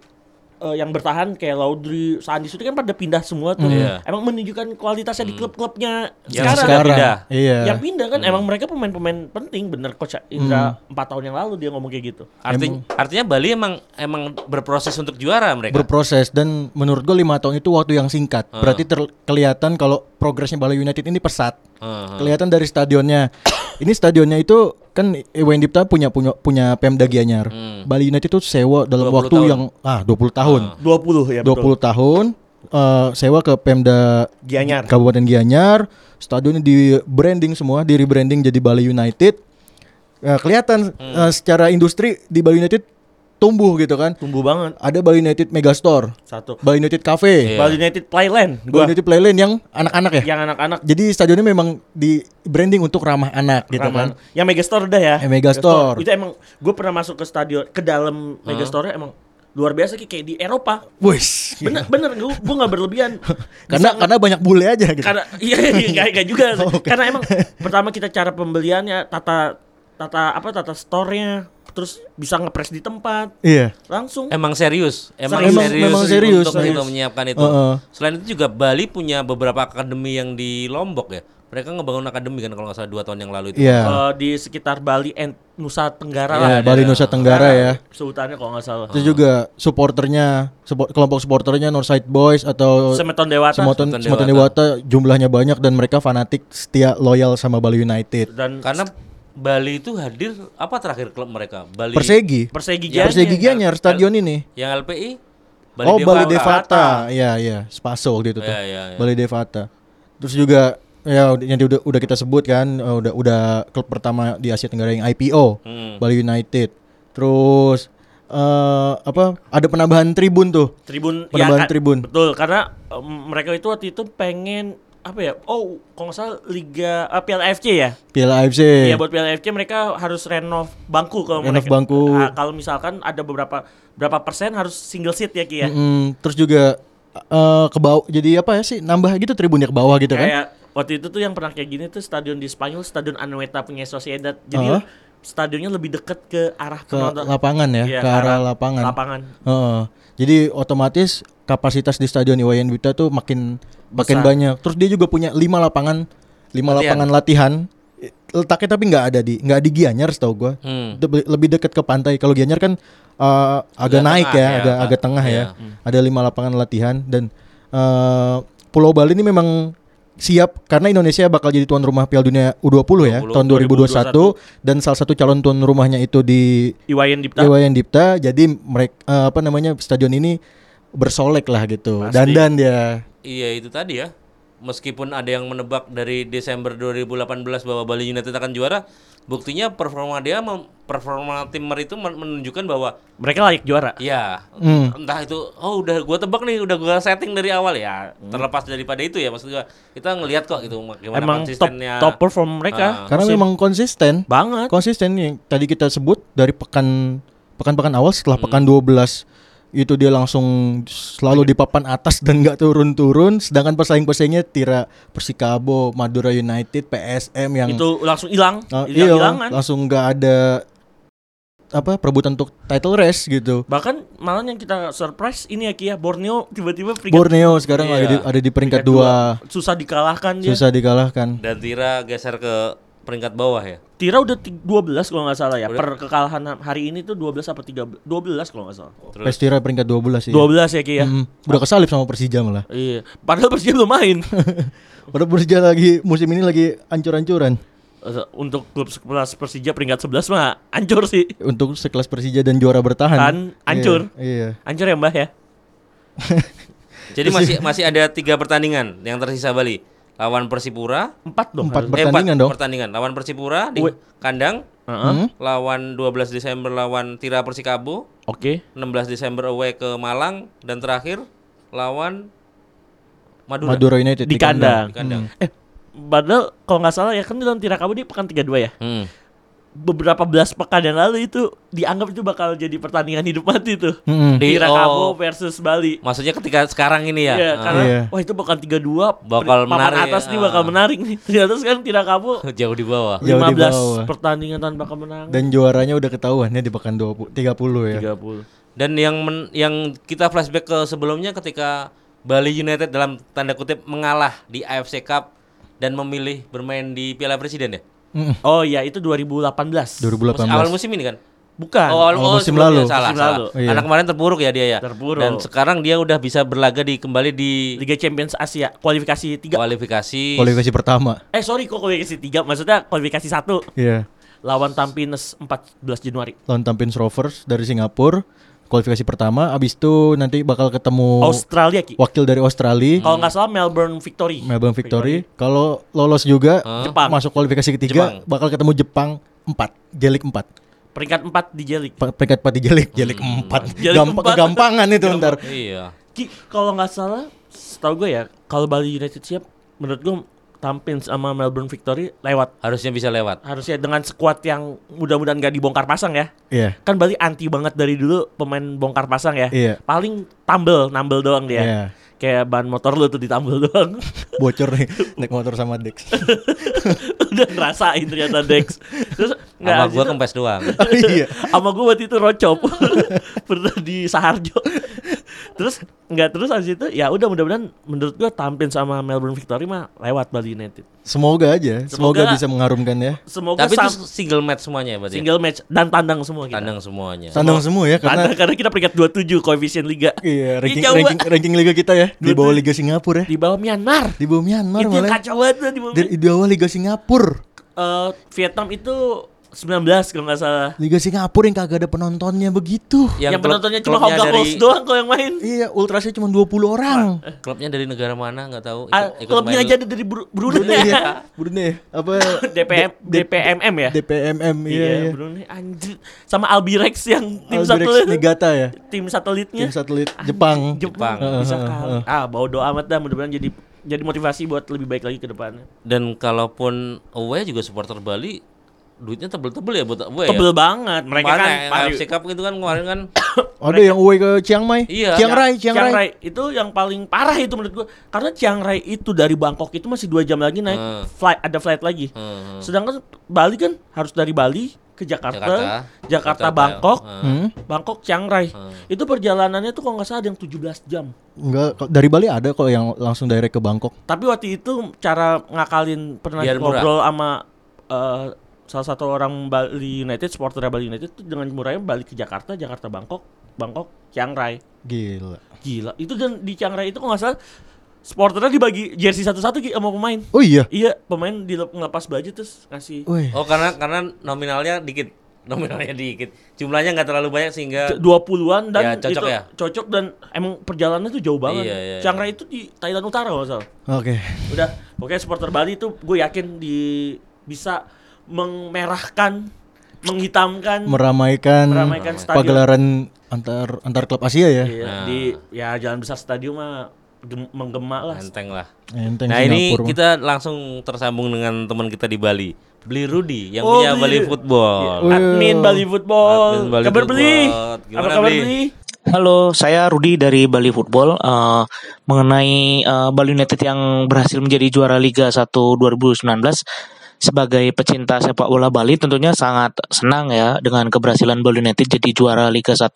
Speaker 3: eh, yang bertahan kayak Laudri, Sandis itu kan pada pindah semua tuh.
Speaker 4: Iya. Hmm.
Speaker 3: Emang menunjukkan kualitasnya di klub-klubnya
Speaker 4: Yang
Speaker 3: sekarang.
Speaker 4: sekarang. pindah. Hmm.
Speaker 2: Iya.
Speaker 3: Yang pindah kan emang mereka pemain-pemain penting bener coach Indra
Speaker 2: Hmm.
Speaker 3: empat tahun yang lalu dia ngomong kayak gitu.
Speaker 4: Arti- artinya Bali emang emang berproses untuk juara mereka.
Speaker 2: berproses dan menurut gue lima tahun itu waktu yang singkat. Berarti ter- kelihatan kalau progresnya Bali United ini pesat.
Speaker 4: Heeh.
Speaker 2: Kelihatan dari stadionnya. ini stadionnya itu kan Iwan Dipta punya punya punya Pemda Gianyar. Bali United itu sewa dalam
Speaker 4: 20
Speaker 2: waktu
Speaker 4: tahun.
Speaker 2: yang ah 20 tahun.
Speaker 3: 20 ya
Speaker 2: 20 tahun eh, sewa ke Pemda
Speaker 3: Gianyar.
Speaker 2: Kabupaten Gianyar. Stadionnya di branding semua, di rebranding jadi Bali United. Eh, kelihatan eh, secara industri di Bali United tumbuh gitu kan.
Speaker 3: Tumbuh banget.
Speaker 2: Ada Bali United Megastore,
Speaker 3: Satu.
Speaker 2: Bali United Cafe,
Speaker 4: Iya.
Speaker 3: Bali United Playland.
Speaker 2: Bali
Speaker 3: Gua
Speaker 2: United Playland yang anak-anak ya.
Speaker 3: yang anak-anak
Speaker 2: Jadi stadionnya memang di branding untuk ramah anak gitu kan.
Speaker 3: Raman. Yang Megastore udah ya.
Speaker 2: Eh, Megastore.
Speaker 3: Itu emang gue pernah masuk ke stadion ke dalam Megastore emang luar biasa Ki, kayak di Eropa.
Speaker 2: Wis.
Speaker 3: Bener bener gue gue nggak berlebihan.
Speaker 2: Iya. Karena kan- Oh, karena banyak bule aja gitu.
Speaker 3: karena iya iya, nggak nggak juga sih. karena emang pertama kita cara pembeliannya tata tata apa tata store-nya terus bisa ngepres di tempat
Speaker 2: Iya.
Speaker 3: langsung
Speaker 4: Emang serius, emang,
Speaker 3: Serius.
Speaker 4: serius,
Speaker 2: Memang serius,
Speaker 4: untuk
Speaker 2: serius.
Speaker 4: itu menyiapkan itu.
Speaker 2: Heeh.
Speaker 4: Selain itu juga Bali punya beberapa akademi yang di Lombok ya. Mereka ngebangun akademi kan kalau nggak salah dua tahun yang lalu itu.
Speaker 2: Iya.
Speaker 3: eh, di sekitar Bali and Nusa Tenggara
Speaker 2: Iya,
Speaker 3: lah.
Speaker 2: Bali Nusa Tenggara ya.
Speaker 3: Sultannya kalau nggak salah.
Speaker 2: Terus juga supporternya, support- kelompok supporternya Northside Boys atau
Speaker 3: Semeton Dewata
Speaker 2: Semoton
Speaker 4: Semoton
Speaker 2: Semoton
Speaker 4: Dewata.
Speaker 2: Dewata jumlahnya banyak dan mereka fanatik setia loyal sama Bali United.
Speaker 3: dan
Speaker 4: Karena Bali itu hadir apa terakhir klub mereka? Bali
Speaker 2: Persegi.
Speaker 3: Persegi ya. Gianyar.
Speaker 2: Persegi Gianyar stadion ini.
Speaker 4: yang LPI Bali
Speaker 2: Oh Bali Devata.
Speaker 4: Dewata.
Speaker 2: Iya iya, Spaso gitu tuh.
Speaker 4: Iya, iya, iya.
Speaker 2: Bali Devata. Terus juga ya udah- yang udah udah kita sebut kan eh, udah udah klub pertama di Asia Tenggara yang IPO
Speaker 4: Hmm.
Speaker 2: Bali United. Terus eh apa ada penambahan tribun tuh.
Speaker 3: Tribun
Speaker 2: Penambahan
Speaker 3: ka-
Speaker 2: tribun.
Speaker 3: Betul, karena em, mereka itu waktu itu pengen apa ya? Oh, kalau nggak salah Liga ah, Piala AFC ya.
Speaker 2: Piala AFC.
Speaker 3: Iya, buat Piala AFC mereka harus renov bangku kalau
Speaker 2: Renov
Speaker 3: mereka.
Speaker 2: bangku.
Speaker 3: Ah, kalau misalkan ada beberapa berapa persen harus single seat ya Ki ya.
Speaker 2: Mm, terus juga eh, ke bawah jadi apa ya sih nambah gitu tribunnya ke bawah gitu kan.
Speaker 3: Kayak waktu itu tuh yang pernah kayak gini tuh stadion di Spanyol, stadion Anoeta punya Sociedad. Jadi
Speaker 2: Heeh.
Speaker 3: stadionnya lebih dekat ke arah
Speaker 2: Ke
Speaker 3: penonton.
Speaker 2: lapangan ya,
Speaker 3: Iya,
Speaker 2: ke arah lapangan.
Speaker 3: Lapangan.
Speaker 2: Heeh. jadi otomatis kapasitas di stadion Iwayan Wita tuh makin makin
Speaker 3: Besar.
Speaker 2: banyak. Terus dia juga punya lima lapangan lima lapangan latihan. Eh, Letaknya tapi nggak ada di nggak di Gianyar setahu gua.
Speaker 4: Hmm.
Speaker 2: De- lebih dekat ke pantai. Kalau Gianyar kan eh, agak
Speaker 4: Agak
Speaker 2: naik
Speaker 4: tengah
Speaker 2: ya,
Speaker 4: ya,
Speaker 2: agak
Speaker 4: Pak.
Speaker 2: agak tengah
Speaker 4: Iya.
Speaker 2: ya. Ada lima lapangan latihan dan eh, Pulau Bali ini memang siap karena Indonesia bakal jadi tuan rumah Piala Dunia U20 ya
Speaker 4: 20,
Speaker 2: tahun 2021, dan salah satu calon tuan rumahnya itu di
Speaker 3: Iwayan Dipta.
Speaker 2: Iwayan Dipta. Jadi mereka apa namanya stadion ini bersolek lah gitu.
Speaker 3: Pasti.
Speaker 2: Dandan dia.
Speaker 4: Iya itu tadi ya. Meskipun ada yang menebak dari Desember 2018 bahwa Bali United akan juara, buktinya performa dia mem- performa tim itu men- menunjukkan bahwa
Speaker 3: Mereka layak juara.
Speaker 4: ya
Speaker 2: Hmm.
Speaker 4: entah itu oh udah gua tebak nih, udah gua setting dari awal ya. Terlepas daripada itu ya maksud gua. Kita ngelihat kok gitu bagaimana
Speaker 3: Emang top
Speaker 4: konsistennya.
Speaker 3: top perform mereka.
Speaker 2: Karena
Speaker 3: Musim
Speaker 2: memang konsisten.
Speaker 3: banget.
Speaker 2: konsisten yang tadi kita sebut dari pekan pekan-pekan awal setelah
Speaker 3: Hmm.
Speaker 2: pekan 12 itu dia langsung
Speaker 3: Iya.
Speaker 2: selalu di papan atas dan nggak turun-turun sedangkan pesaing-pesaingnya Tira Persikabo, Madura United, PSM yang
Speaker 3: itu langsung hilang,
Speaker 2: uh, iya,
Speaker 3: hilang-hilangan.
Speaker 2: langsung nggak ada apa perebutan untuk title race gitu.
Speaker 3: Bahkan malah yang kita surprise ini ya Ki ya, Borneo tiba-tiba peringkat
Speaker 2: Borneo sekarang
Speaker 4: Iya.
Speaker 2: lagi di- ada di peringkat dua,
Speaker 3: peringkat susah dikalahkan dia.
Speaker 2: susah dikalahkan.
Speaker 4: Dan Tira geser ke peringkat bawah ya.
Speaker 3: Tira udah ti- 12 kalau nggak salah ya.
Speaker 4: Udah.
Speaker 3: Per kekalahan hari ini tuh 12 apa 13? 12 kalau nggak salah.
Speaker 4: Terus
Speaker 2: Pes Tira peringkat 12 sih.
Speaker 3: 12 ya Ki ya.
Speaker 2: Mm, udah kesalip sama Persija malah.
Speaker 3: Iya. Padahal Persija belum main.
Speaker 2: Padahal Persija lagi musim ini lagi ancur-ancuran.
Speaker 3: Untuk klub sekelas Persija peringkat 11 mah ancur sih.
Speaker 2: untuk sekelas Persija dan juara bertahan.
Speaker 4: Kan?
Speaker 3: Tahan, hancur.
Speaker 2: Iya.
Speaker 3: Ancur ya Mbah ya.
Speaker 4: Jadi masih masih ada tiga pertandingan yang tersisa Bali. Lawan Persipura,
Speaker 3: 4 dong.
Speaker 2: Empat
Speaker 3: harus.
Speaker 4: eh,
Speaker 2: Pertandingan dong.
Speaker 4: Pertandingan lawan Persipura di
Speaker 3: Wait.
Speaker 4: kandang,
Speaker 3: Heeh.
Speaker 2: Hmm?
Speaker 4: lawan 12 Desember lawan Tira Persikabo,
Speaker 3: Oke.
Speaker 4: 16 Desember away ke Malang dan terakhir lawan Madura.
Speaker 2: Madura United
Speaker 3: Di kandang.
Speaker 4: Di kandang.
Speaker 3: Eh, padahal kalau nggak salah ya kan dalam Tira kamu di pekan 32 ya.
Speaker 4: Hmm.
Speaker 3: Beberapa belas pekan yang lalu itu dianggap itu bakal jadi pertandingan hidup mati tuh.
Speaker 2: Mm-mm.
Speaker 4: Di-
Speaker 3: Tira
Speaker 4: oh.
Speaker 3: kamu versus Bali.
Speaker 4: Maksudnya ketika sekarang ini ya.
Speaker 3: Iya,
Speaker 4: Ah.
Speaker 3: karena
Speaker 2: Iya.
Speaker 3: wah itu bakal 32
Speaker 4: Bakal
Speaker 3: papan
Speaker 4: menarik,
Speaker 3: atas nih
Speaker 4: ah.
Speaker 3: bakal menarik nih. Di atas kan tidak kamu
Speaker 4: jauh di bawah.
Speaker 2: Jauh di bawah.
Speaker 3: 15 pertandingan tanpa kemenangan.
Speaker 2: Dan juaranya udah ketahuan ya di pekan 20 30 ya.
Speaker 3: 30.
Speaker 4: Dan yang men- yang kita flashback ke sebelumnya ketika Bali United dalam tanda kutip mengalah di AFC Cup dan memilih bermain di Piala Presiden ya.
Speaker 2: Mm-mm.
Speaker 3: Oh iya itu 2018.
Speaker 2: 2018.
Speaker 4: Awal musim ini kan.
Speaker 3: Bukan. Oh,
Speaker 4: awal
Speaker 2: Awal musim lalu.
Speaker 4: sebelumnya, oh, Salah,
Speaker 3: Musim
Speaker 4: salah.
Speaker 3: lalu.
Speaker 2: Iya.
Speaker 4: Karena kemarin terpuruk ya dia ya.
Speaker 3: Terpuruk.
Speaker 4: Dan sekarang dia udah bisa berlaga di kembali di
Speaker 3: Liga Champions Asia kualifikasi 3.
Speaker 4: Oh. kualifikasi.
Speaker 2: Kualifikasi pertama.
Speaker 3: Eh sorry kok kualifikasi 3 maksudnya kualifikasi 1
Speaker 2: Iya.
Speaker 3: lawan Tampines 14 Januari.
Speaker 2: Lawan Tampines Rovers dari Singapura. kualifikasi pertama abis itu nanti bakal ketemu
Speaker 3: Australia Ki.
Speaker 2: wakil dari Australia
Speaker 3: Kalau nggak salah Melbourne Victory.
Speaker 2: Melbourne Victory kalau lolos juga
Speaker 4: Hah?
Speaker 3: Jepang.
Speaker 2: masuk kualifikasi ketiga
Speaker 4: Jepang.
Speaker 2: bakal ketemu Jepang 4 jelik 4
Speaker 3: Peringkat 4 di Jelik.
Speaker 2: peringkat pati jelik jelik 4
Speaker 3: Hmm. Jelik
Speaker 2: gampang
Speaker 3: empat.
Speaker 2: kegampangan itu ntar
Speaker 4: Iya.
Speaker 3: Ki, kalau nggak salah, setahu gue ya, kalau Bali United siap, menurut gue tampil sama Melbourne Victory lewat.
Speaker 4: Harusnya bisa lewat.
Speaker 3: Harusnya dengan skuad yang mudah-mudahan nggak dibongkar pasang ya.
Speaker 2: iya
Speaker 3: Kan Bali anti banget dari dulu pemain bongkar pasang ya.
Speaker 2: Iya.
Speaker 3: Paling tambel, nambel doang dia.
Speaker 2: Iya.
Speaker 3: Kayak ban motor lu tuh ditambel doang.
Speaker 2: bocor nih naik motor sama Dex
Speaker 3: Udah ngerasain ternyata Dex. Terus nggak
Speaker 4: Sama
Speaker 3: habis
Speaker 4: gua
Speaker 3: itu-
Speaker 4: kempes doang.
Speaker 2: iya
Speaker 3: sama gue waktu itu rocop pernah di Saharjo terus nggak terus abis itu ya udah mudah-mudahan menurut gue tampil sama Melbourne Victory mah lewat Bali United
Speaker 2: semoga aja semoga,
Speaker 3: Semoga-
Speaker 2: bisa mengharumkan ya
Speaker 3: semoga
Speaker 4: Tapi itu
Speaker 3: sam-
Speaker 4: single match semuanya ya berarti. ya?
Speaker 3: single match dan tandang semua kita
Speaker 4: Tandang semuanya.
Speaker 2: tandang semua ya karena
Speaker 3: tandang karena kita peringkat 27 koefisien liga
Speaker 2: Iya,
Speaker 3: Ih,
Speaker 2: ranking,
Speaker 3: jauh
Speaker 2: ranking, ranking liga kita ya di bawah liga Singapura ya.
Speaker 3: banget. di bawah Myanmar
Speaker 2: Di bawah Myanmar
Speaker 3: itu yang
Speaker 2: malah. ya.
Speaker 3: kacau banget tuh di bawah
Speaker 2: Di, di bawah liga Singapura.
Speaker 3: Eh, Vietnam itu 19 kalau nggak salah
Speaker 2: Liga Singapura yang kagak ada penontonnya begitu.
Speaker 3: yang,
Speaker 4: klub-
Speaker 3: penontonnya cuma
Speaker 4: klubnya
Speaker 3: Hoga
Speaker 4: dari-
Speaker 3: Horse doang kalau yang main
Speaker 2: Iya, ultrasnya cuma 20 orang.
Speaker 3: Nah.
Speaker 4: Klubnya dari negara mana nggak tahu.
Speaker 3: Ah,
Speaker 4: ikut- ikut
Speaker 3: klubnya
Speaker 4: main- iya.
Speaker 3: aja ada dari Bru- Brunei
Speaker 2: Brunei ya. Brunei apa
Speaker 3: DPM
Speaker 2: D- D-
Speaker 3: DPMM ya
Speaker 2: DPMM iya.
Speaker 3: Iya,
Speaker 2: iya.
Speaker 3: Brunei anjir sama Albirex yang tim
Speaker 2: Albirex
Speaker 3: satelit. Iya.
Speaker 2: Niigata ya.
Speaker 3: Tim
Speaker 2: Tim
Speaker 3: satelitnya.
Speaker 2: satelit Jepang.
Speaker 3: Jepang.
Speaker 4: Jepang.
Speaker 3: Bisa
Speaker 2: Heeh,
Speaker 3: kali. Ah, bawa doa amat dah mudah-mudahan jadi jadi motivasi buat lebih baik lagi ke depannya.
Speaker 4: Dan kalaupun away juga supporter Bali duitnya tebel-tebel ya buat away ya.
Speaker 3: Tebel banget. Mereka
Speaker 4: Kemarin
Speaker 3: kan
Speaker 4: yang
Speaker 3: Mario-
Speaker 4: AFC Cup gitu kan kemarin kan
Speaker 2: Ada yang away ke Chiang Mai.
Speaker 4: Iya.
Speaker 2: Chiang Rai, Chiang
Speaker 3: Chiang
Speaker 2: Rai.
Speaker 3: Rai itu yang paling parah itu menurut gua karena Chiang Rai itu dari Bangkok itu masih dua jam lagi naik
Speaker 4: Hmm.
Speaker 3: flight ada flight lagi
Speaker 4: Hmm,
Speaker 3: sedangkan Bali kan harus dari Bali ke Jakarta Jakarta,
Speaker 4: Jakarta,
Speaker 3: Bangkok
Speaker 4: eh,
Speaker 2: Hmm?
Speaker 3: Bangkok Chiang Rai
Speaker 4: Hmm.
Speaker 3: itu perjalanannya tuh kalau nggak salah ada yang 17 jam
Speaker 2: Enggak, kok- dari Bali ada kok yang langsung direct ke Bangkok.
Speaker 3: Tapi waktu itu cara ngakalin pernah
Speaker 4: Biar murah.
Speaker 3: ngobrol sama eh, salah satu orang Bali United, supporter Bali United itu dengan murahnya balik ke Jakarta, Jakarta Bangkok, Bangkok Chiang Rai.
Speaker 2: Gila.
Speaker 3: Gila. Itu dan di Chiang Rai itu kalau nggak salah supporternya dibagi jersey satu-satu Ki, sama pemain.
Speaker 2: Oh iya.
Speaker 3: Iya, pemain dilep- ngelepas baju terus ngasih
Speaker 2: Woi.
Speaker 4: Oh karena karena nominalnya dikit, nominalnya dikit, jumlahnya nggak terlalu banyak sehingga
Speaker 3: 20-an
Speaker 4: Ya,
Speaker 3: dan
Speaker 4: cocok
Speaker 3: itu
Speaker 4: ya?
Speaker 3: cocok dan emang perjalanannya tuh jauh banget.
Speaker 4: Iya, iya,
Speaker 3: Chiang
Speaker 4: iya.
Speaker 3: Rai itu di Thailand Utara kalau nggak salah.
Speaker 2: Oke.
Speaker 3: udah pokoknya supporter Bali itu gue yakin di bisa memerahkan menghitamkan
Speaker 2: Meramaikan,
Speaker 3: meramaikan stadion
Speaker 2: pagelaran antar antar klub Asia ya.
Speaker 3: Iya,
Speaker 4: Nah.
Speaker 3: di ya jalan besar stadion mah gem- menggema lah
Speaker 4: enteng lah.
Speaker 2: Enteng
Speaker 4: Nah ini
Speaker 2: Singapura.
Speaker 4: kita langsung tersambung dengan teman kita di Bali, Beli Rudi yang
Speaker 3: Oh,
Speaker 4: punya
Speaker 3: Bli
Speaker 4: Bali
Speaker 3: Rudi.
Speaker 4: Football.
Speaker 3: admin Bali
Speaker 4: Admin
Speaker 3: Football
Speaker 4: Bali
Speaker 3: kabar beli
Speaker 4: Football.
Speaker 3: apa
Speaker 4: Gimana,
Speaker 3: kabar
Speaker 4: Bli?
Speaker 3: beli
Speaker 5: Halo, saya Rudi dari Bali Football. Eh, mengenai eh, Bali United yang berhasil menjadi juara Liga 1 2019 sebagai pecinta sepak bola Bali tentunya sangat senang ya dengan keberhasilan Bali United jadi juara Liga 1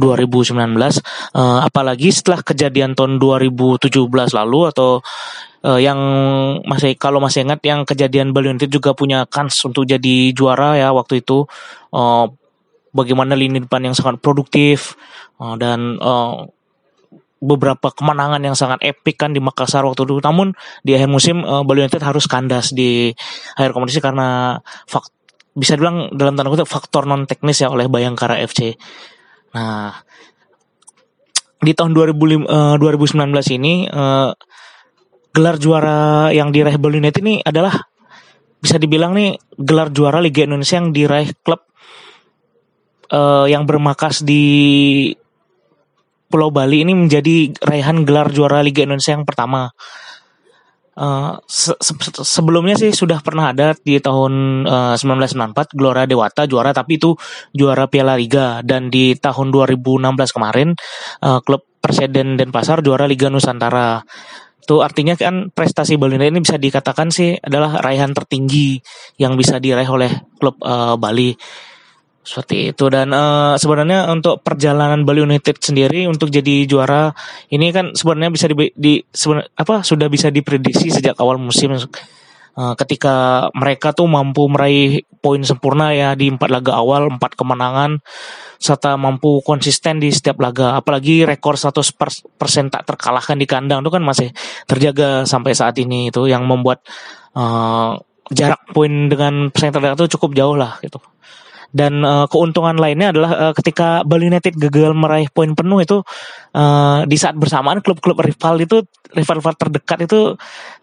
Speaker 5: 2019. Eh, apalagi setelah kejadian tahun 2017 lalu atau eh, yang masih kalau masih ingat yang kejadian Bali United juga punya kans untuk jadi juara ya waktu itu. Eh, bagaimana lini depan yang sangat produktif uh, dan uh, beberapa kemenangan yang sangat epic kan di Makassar waktu itu. Namun di akhir musim uh, Bali United harus kandas di akhir kompetisi karena fak- bisa dibilang dalam tanda kutip faktor non teknis ya oleh Bayangkara FC. Nah, di tahun 2005, eh, 2019 ini eh, gelar juara yang diraih Bali United ini adalah bisa dibilang nih gelar juara Liga Indonesia yang diraih klub eh, yang bermarkas di Pulau Bali ini menjadi raihan gelar juara Liga Indonesia yang pertama. Eh, se- se- sebelumnya sih sudah pernah ada di tahun eh, 1994 Gelora Dewata juara tapi itu juara Piala Liga dan di tahun 2016 kemarin eh, klub Perseden Denpasar juara Liga Nusantara. Itu artinya kan prestasi Bali United ini bisa dikatakan sih adalah raihan tertinggi yang bisa diraih oleh klub eh, Bali seperti itu dan eh, sebenarnya untuk perjalanan Bali United sendiri untuk jadi juara ini kan sebenarnya bisa di, di sebenar- apa sudah bisa diprediksi sejak awal musim Eh, ketika mereka tuh mampu meraih poin sempurna ya di empat laga awal empat kemenangan serta mampu konsisten di setiap laga apalagi rekor 100% tak terkalahkan di kandang itu kan masih terjaga sampai saat ini itu yang membuat eh, jarak poin dengan pesaing terdekat itu cukup jauh lah gitu Dan eh, keuntungan lainnya adalah eh, ketika Bali United gagal meraih poin penuh itu eh, di saat bersamaan klub-klub rival itu rival-rival terdekat itu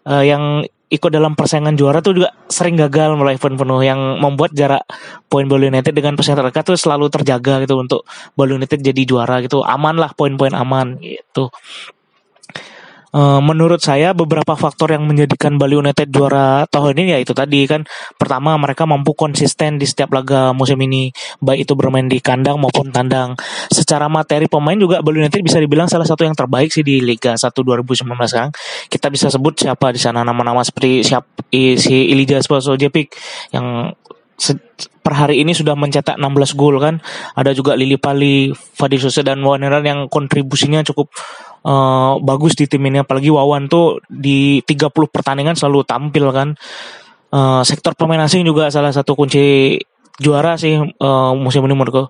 Speaker 5: eh, yang ikut dalam persaingan juara tuh juga sering gagal meraih poin penuh yang membuat jarak poin Bali United dengan pesaing terdekat tuh selalu terjaga gitu untuk Bali United jadi juara gitu. Aman lah poin-poin aman gitu. Eh, menurut saya beberapa faktor yang menjadikan Bali United juara tahun ini ya itu tadi kan pertama mereka mampu konsisten di setiap laga musim ini baik itu bermain di kandang maupun tandang secara materi pemain juga Bali United bisa dibilang salah satu yang terbaik sih di Liga 1 2019 sekarang kan. kita bisa sebut siapa di sana nama-nama seperti siap i- si Ilija Spasojevic yang se- per hari ini sudah mencetak 16 gol kan ada juga Lili Pali Fadil Sose dan Waneran yang kontribusinya cukup eh, bagus di tim ini apalagi Wawan tuh di 30 pertandingan selalu tampil kan Eh, sektor pemain asing juga salah satu kunci juara sih eh, musim ini menurutku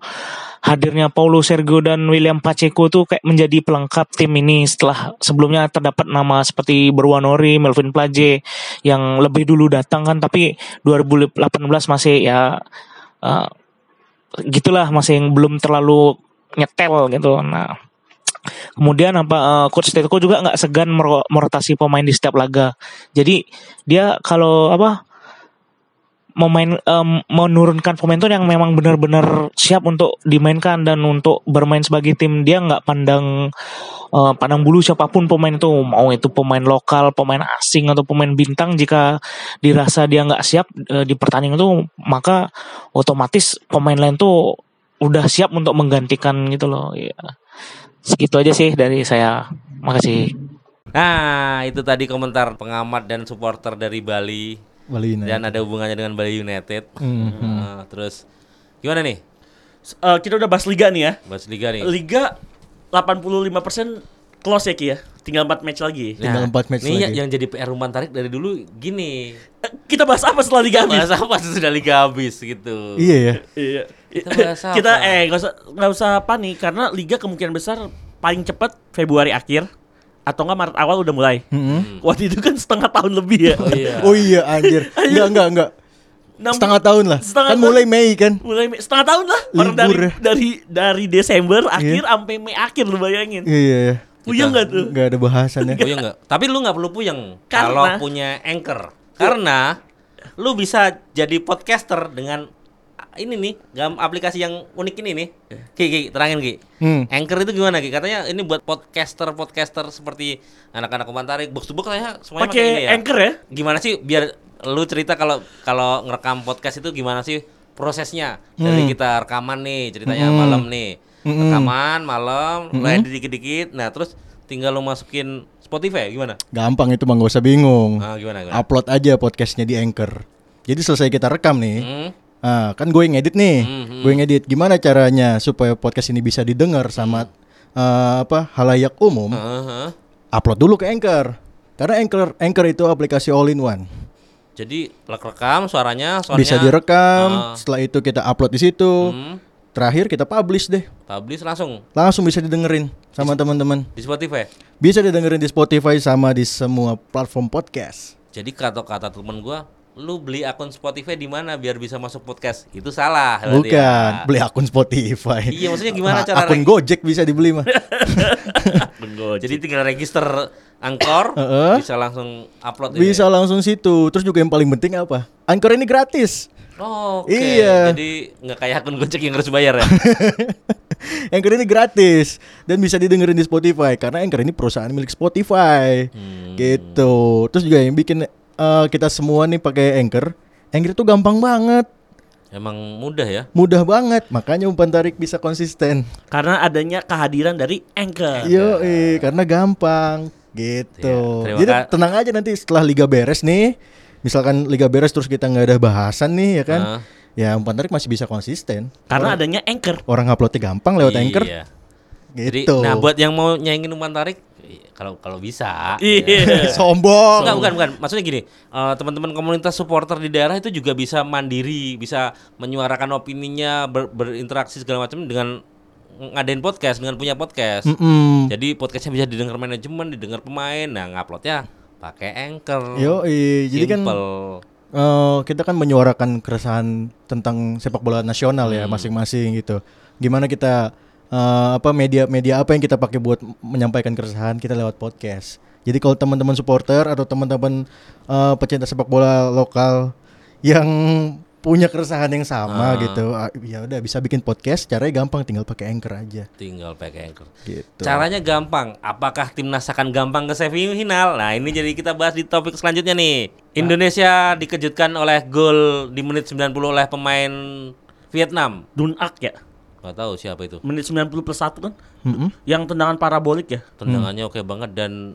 Speaker 5: hadirnya Paulo Sergio dan William Pacheco tuh kayak menjadi pelengkap tim ini setelah sebelumnya terdapat nama seperti Berwanori, Melvin Plaje yang lebih dulu datang kan tapi 2018 masih ya eh, gitulah masih yang belum terlalu nyetel gitu. Nah, kemudian apa eh, coach Teko juga nggak segan mero- merotasi pemain di setiap laga. Jadi dia kalau apa memain em, menurunkan pemain tuh yang memang benar-benar siap untuk dimainkan dan untuk bermain sebagai tim dia nggak pandang eh, pandang bulu siapapun pemain itu mau itu pemain lokal pemain asing atau pemain bintang jika dirasa dia nggak siap eh, di pertandingan itu maka otomatis pemain lain tuh udah siap untuk menggantikan gitu loh ya segitu aja sih dari saya makasih
Speaker 4: Nah, itu tadi komentar pengamat dan supporter dari Bali
Speaker 2: Bali United.
Speaker 4: dan ada hubungannya dengan Bali United.
Speaker 2: Mhm.
Speaker 4: Nah, terus gimana nih?
Speaker 3: S- eh, kita udah bahas liga nih ya.
Speaker 4: Bahas liga nih.
Speaker 3: Liga 85% close ya Ki ya. Tinggal 4 match lagi.
Speaker 2: Tinggal empat match
Speaker 4: ini
Speaker 2: lagi.
Speaker 4: Nah, ya, yang jadi PR Ruman Tarik dari dulu gini.
Speaker 3: Eh, Kita bahas apa setelah liga habis?
Speaker 4: Bahasa apa sudah liga habis gitu.
Speaker 2: Iya ya.
Speaker 3: Iya.
Speaker 4: Kita bahas apa?
Speaker 3: Kita eh nggak usah nggak usah panik karena liga kemungkinan besar paling cepat Februari akhir atau nggak Maret awal udah mulai.
Speaker 2: Mm-mm.
Speaker 3: Waktu itu kan setengah tahun lebih ya.
Speaker 4: Oh iya.
Speaker 2: Hmm. Oh iya anjir. Enggak enggak enggak.
Speaker 3: Enam-
Speaker 2: Setengah tahun lah.
Speaker 3: Setengah
Speaker 2: kan
Speaker 3: tahun.
Speaker 2: mulai Mei kan.
Speaker 3: mulai Mei- setengah tahun lah orang dari
Speaker 2: Libur ya.
Speaker 3: dari dari Desember akhir sampai Mei akhir lu bayangin.
Speaker 2: Iya iya. iya.
Speaker 3: Puyeng nggak tuh?
Speaker 2: Enggak ada bahasannya.
Speaker 4: Puyeng Iya nggak? Tapi lu nggak perlu puyeng kalau
Speaker 3: Karena-
Speaker 4: punya anchor. Karena lu bisa jadi podcaster dengan ah, ini nih, gam aplikasi yang unik ini nih. Ki, Ki, terangin Ki.
Speaker 2: Hmm.
Speaker 4: Anchor itu gimana Ki? Katanya ini buat podcaster-podcaster seperti anak-anak komentarik, box to box kayaknya semuanya pakai ini
Speaker 3: Pakai
Speaker 4: ya.
Speaker 3: anchor ya?
Speaker 4: Gimana sih biar lu cerita kalau kalau ngerekam podcast itu gimana sih prosesnya? Dari
Speaker 2: Hmm.
Speaker 4: kita rekaman nih, ceritanya
Speaker 2: Hmm.
Speaker 4: malam nih.
Speaker 2: Mm-mm.
Speaker 4: Rekaman malam, lu
Speaker 2: Mm-mm.
Speaker 4: edit dikit-dikit. Nah, terus tinggal lu masukin Spotify ya? gimana?
Speaker 2: Gampang itu mah gak usah bingung.
Speaker 4: Ah, gimana gimana?
Speaker 2: Upload aja podcastnya di Anchor. Jadi selesai kita rekam nih.
Speaker 4: Hmm,
Speaker 2: Ah, kan gue yang edit nih.
Speaker 4: Mhm.
Speaker 2: Gue yang edit. Gimana caranya supaya podcast ini bisa didengar sama eh, apa halayak umum?
Speaker 4: heeh, heeh.
Speaker 2: Upload dulu ke Anchor. Karena Anchor Anchor itu aplikasi all in one.
Speaker 4: Jadi lek rekam suaranya, suaranya
Speaker 2: Bisa direkam,
Speaker 4: Ah.
Speaker 2: setelah itu kita upload di situ.
Speaker 4: Hmm,
Speaker 2: Terakhir kita publish deh.
Speaker 4: publish langsung
Speaker 2: Langsung bisa didengerin sama teman-teman.
Speaker 4: di Spotify.
Speaker 2: Bisa didengerin di Spotify sama di semua platform podcast.
Speaker 4: Jadi kata kata temen gua, lu beli akun Spotify di mana biar bisa masuk podcast? Itu salah. berarti
Speaker 2: Bukan,
Speaker 4: ya.
Speaker 2: beli akun Spotify.
Speaker 4: Iya, maksudnya gimana Iya.
Speaker 2: Ah,
Speaker 4: cara
Speaker 2: akun
Speaker 4: rek-
Speaker 2: Gojek bisa dibeli mah.
Speaker 4: Jadi tinggal register angkor,
Speaker 2: Heeh.
Speaker 4: bisa langsung upload. ya.
Speaker 2: bisa langsung situ. Terus juga yang paling penting apa? Anchor ini gratis.
Speaker 4: Oh, Oke.
Speaker 2: Iya.
Speaker 4: Jadi nggak kayak akun Gojek yang harus bayar ya.
Speaker 2: Anchor ini gratis dan bisa didengerin di Spotify karena Anchor ini perusahaan milik Spotify.
Speaker 4: Hmm.
Speaker 2: Gitu. Terus juga yang bikin eh, kita semua nih pakai Anchor. Anchor itu gampang banget,
Speaker 4: Emang mudah ya.
Speaker 2: mudah banget. Makanya umpan tarik bisa konsisten.
Speaker 3: Karena adanya kehadiran dari anchor.
Speaker 2: Yo, karena gampang gitu.
Speaker 4: Ya, terima
Speaker 2: Jadi
Speaker 4: ka-
Speaker 2: tenang aja nanti setelah liga beres nih, misalkan liga beres terus kita nggak ada bahasan nih ya kan?
Speaker 4: Ah.
Speaker 2: Ya umpan tarik masih bisa konsisten.
Speaker 3: Karena adanya anchor.
Speaker 2: Orang uploadnya gampang lewat anchor,
Speaker 4: Iya. Jadi,
Speaker 2: gitu.
Speaker 4: nah buat yang mau nyaingin umpan tarik, i- kalau kalau bisa. ya.
Speaker 3: Iya.
Speaker 2: sombong.
Speaker 4: Enggak, bukan, bukan. Maksudnya gini, eh, teman-teman komunitas supporter di daerah itu juga bisa mandiri, bisa menyuarakan opininya, ber- berinteraksi segala macam dengan ng- ngadain podcast, dengan punya podcast.
Speaker 2: Mm-mm.
Speaker 4: Jadi podcastnya bisa didengar manajemen, didengar pemain, nah nguploadnya pakai anchor.
Speaker 2: Yoi, jadi kan
Speaker 4: Simple.
Speaker 2: eh, kita kan menyuarakan keresahan tentang sepak bola nasional ya masing-masing gitu. Gimana kita eh, apa media-media apa yang kita pakai buat menyampaikan keresahan kita lewat podcast. Jadi kalau teman-teman supporter atau teman-teman eh, pecinta sepak bola lokal yang punya keresahan yang sama gitu, ah, ya udah bisa bikin podcast. Caranya gampang, tinggal pakai anchor aja.
Speaker 4: Tinggal pakai anchor.
Speaker 2: Gitu.
Speaker 4: Caranya gampang. Apakah timnas akan gampang ke semifinal? Nah, ini jadi kita bahas di topik selanjutnya nih. Indonesia dikejutkan oleh gol di menit 90 oleh pemain Vietnam.
Speaker 3: Dunak ya.
Speaker 4: Gak tahu siapa itu.
Speaker 3: Menit 90 plus 1 kan.
Speaker 2: Mm-mm.
Speaker 3: Yang tendangan parabolik ya.
Speaker 4: Tendangannya oke banget dan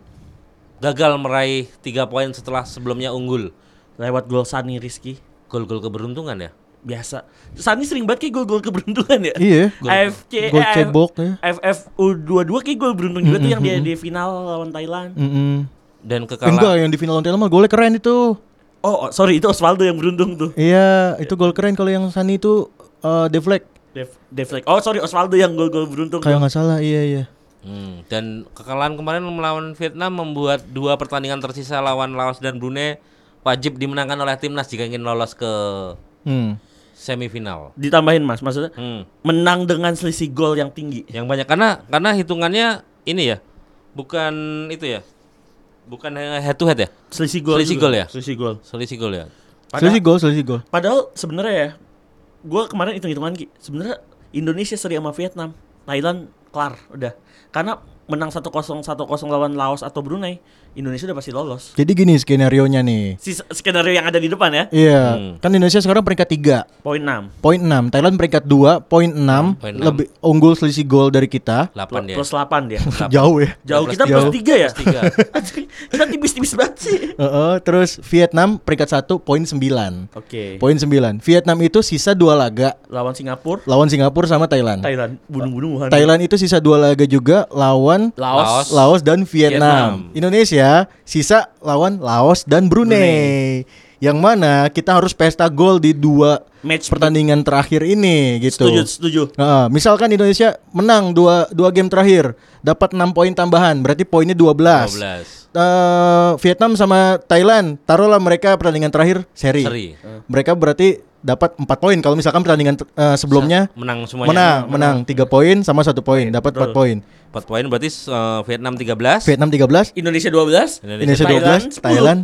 Speaker 4: gagal meraih tiga poin setelah sebelumnya unggul.
Speaker 3: Lewat gol Sani Rizky.
Speaker 4: Gol-gol keberuntungan ya.
Speaker 3: Biasa. Sani sering banget kayak gol-gol keberuntungan ya.
Speaker 2: Iya.
Speaker 3: AFC,
Speaker 2: Gol
Speaker 3: eh, AF
Speaker 2: cebok ya.
Speaker 3: FFU22 kayak gol beruntung juga tuh yang dia di final lawan Thailand.
Speaker 2: Mm-mm.
Speaker 4: Dan
Speaker 2: Enggak
Speaker 4: kekalahan
Speaker 2: yang di final lawan Thailand mah golnya keren itu.
Speaker 3: Oh, oh, sorry itu Osvaldo yang beruntung tuh.
Speaker 2: Iya, itu gol keren kalau yang Sani itu eh deflect
Speaker 3: Dev, Deflect. Oh, sorry Osvaldo yang gol-gol beruntung.
Speaker 2: kalau nggak salah. Iya, iya.
Speaker 4: Hmm, dan kekalahan kemarin melawan Vietnam membuat dua pertandingan tersisa lawan Laos dan Brunei wajib dimenangkan oleh timnas jika ingin lolos ke
Speaker 2: Hmm.
Speaker 4: semifinal.
Speaker 3: Ditambahin Mas, maksudnya
Speaker 4: Hmm,
Speaker 3: menang dengan selisih gol yang tinggi.
Speaker 2: Iya.
Speaker 4: yang banyak karena karena hitungannya ini ya, bukan itu ya, bukan head to head ya,
Speaker 3: Selisih gol.
Speaker 4: Selisih
Speaker 3: juga.
Speaker 4: gol ya?
Speaker 3: Selisih gol.
Speaker 4: selisih gol ya.
Speaker 3: Padahal,
Speaker 2: Selisih gol, selisih gol.
Speaker 3: padahal sebenarnya ya gua kemarin hitung-hitungan Ki. Sebenarnya Indonesia seri sama Vietnam, Thailand kelar udah. Karena menang 1-0 1-0 lawan Laos atau Brunei, Indonesia udah pasti lolos.
Speaker 2: Jadi gini skenario-nya nih.
Speaker 3: Si skenario yang ada di depan ya,
Speaker 2: Iya,
Speaker 4: Hmm.
Speaker 2: kan Indonesia sekarang peringkat 3,
Speaker 3: poin 6
Speaker 2: poin 6. Thailand peringkat 2, poin 6,
Speaker 4: poin enam.
Speaker 2: lebih unggul selisih gol dari kita.
Speaker 4: 8 dia.
Speaker 3: plus 8 dia.
Speaker 2: Jauh ya.
Speaker 3: Jauh
Speaker 4: Plus
Speaker 3: kita
Speaker 4: tiga.
Speaker 3: plus 3 ya.
Speaker 4: Plus tiga.
Speaker 3: kita tipis-tipis banget sih.
Speaker 2: Heeh, terus Vietnam peringkat 1, poin 9.
Speaker 3: Oke.
Speaker 2: Poin 9. Vietnam itu sisa dua laga
Speaker 3: Lawan Singapura,
Speaker 2: lawan Singapura sama Thailand.
Speaker 3: Thailand bunuh-bunuhan.
Speaker 2: Thailand itu sisa dua laga juga lawan
Speaker 4: Laos.
Speaker 2: Laos dan Vietnam.
Speaker 4: Vietnam.
Speaker 2: Indonesia sisa lawan Laos dan Brunei. Yang mana kita harus pesta gol di dua
Speaker 3: Match
Speaker 2: pertandingan terakhir ini gitu.
Speaker 3: Setuju, setuju.
Speaker 2: Nah, misalkan Indonesia menang dua dua game terakhir, dapat 6 poin tambahan, berarti poinnya 12.
Speaker 4: 12.
Speaker 2: Eh, Vietnam sama Thailand, taruhlah mereka pertandingan terakhir seri.
Speaker 4: Seri.
Speaker 2: Mereka berarti dapat 4 poin kalau misalkan pertandingan eh, sebelumnya
Speaker 4: Menang semuanya.
Speaker 2: menang, menang 3 poin sama satu poin, dapat 4 poin.
Speaker 4: 4 poin berarti eh, Vietnam 13.
Speaker 2: Vietnam 13,
Speaker 3: Indonesia 12,
Speaker 2: Indonesia
Speaker 3: Thailand
Speaker 2: 12, Thailand 10.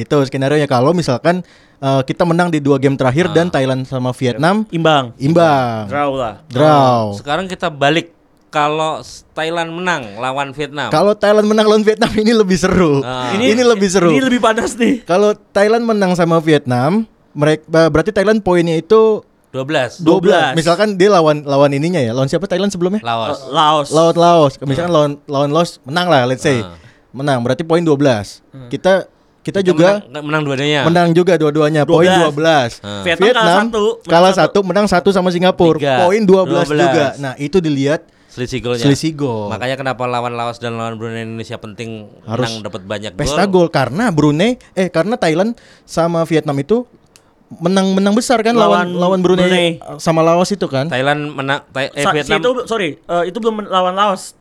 Speaker 4: 10.
Speaker 2: Gitu skenario nya kalau misalkan uh, kita menang di dua game terakhir dan Thailand sama Vietnam
Speaker 3: imbang.
Speaker 2: imbang,
Speaker 3: Draw lah.
Speaker 2: draw.
Speaker 4: Sekarang kita balik kalau Thailand menang lawan Vietnam.
Speaker 2: Kalau Thailand menang lawan Vietnam ini lebih seru.
Speaker 4: Ah.
Speaker 2: Ini, lebih seru.
Speaker 3: Ini lebih panas nih.
Speaker 2: Kalau Thailand menang sama Vietnam, mereka berarti Thailand poinnya itu
Speaker 4: 12.
Speaker 2: 12. Misalkan dia lawan lawan ininya ya, lawan siapa Thailand sebelumnya?
Speaker 4: Laos.
Speaker 3: Eh, Laos.
Speaker 2: Lawan Laos. Misalkan lawan lawan Laos menang lah let's say.
Speaker 4: Ah.
Speaker 2: Menang berarti poin 12.
Speaker 3: Hmm.
Speaker 2: Kita kita juga
Speaker 4: menang, menang dua-duanya.
Speaker 2: Menang juga dua-duanya, poin 12.
Speaker 3: 12.
Speaker 4: Ah.
Speaker 3: Vietnam kalah satu, menang
Speaker 2: kalah
Speaker 3: satu.
Speaker 2: satu, menang satu sama Singapura.
Speaker 4: Tiga.
Speaker 2: Poin 12,
Speaker 4: 12.
Speaker 2: juga. Nah, itu dilihat
Speaker 4: Selisih golnya.
Speaker 2: selisih gol.
Speaker 4: Makanya kenapa lawan Laos dan lawan Brunei Indonesia penting
Speaker 2: Harus
Speaker 4: menang dapat banyak
Speaker 2: Pesta gol karena Brunei eh karena Thailand sama Vietnam itu menang-menang besar kan lawan lawan
Speaker 3: Lawan Brunei.
Speaker 2: Brunei, eh, sama Laos itu kan.
Speaker 4: Thailand menang Thai- eh,
Speaker 3: Sa-
Speaker 4: Vietnam
Speaker 3: si itu belum- sorry, eh, itu belum men- lawan Laos.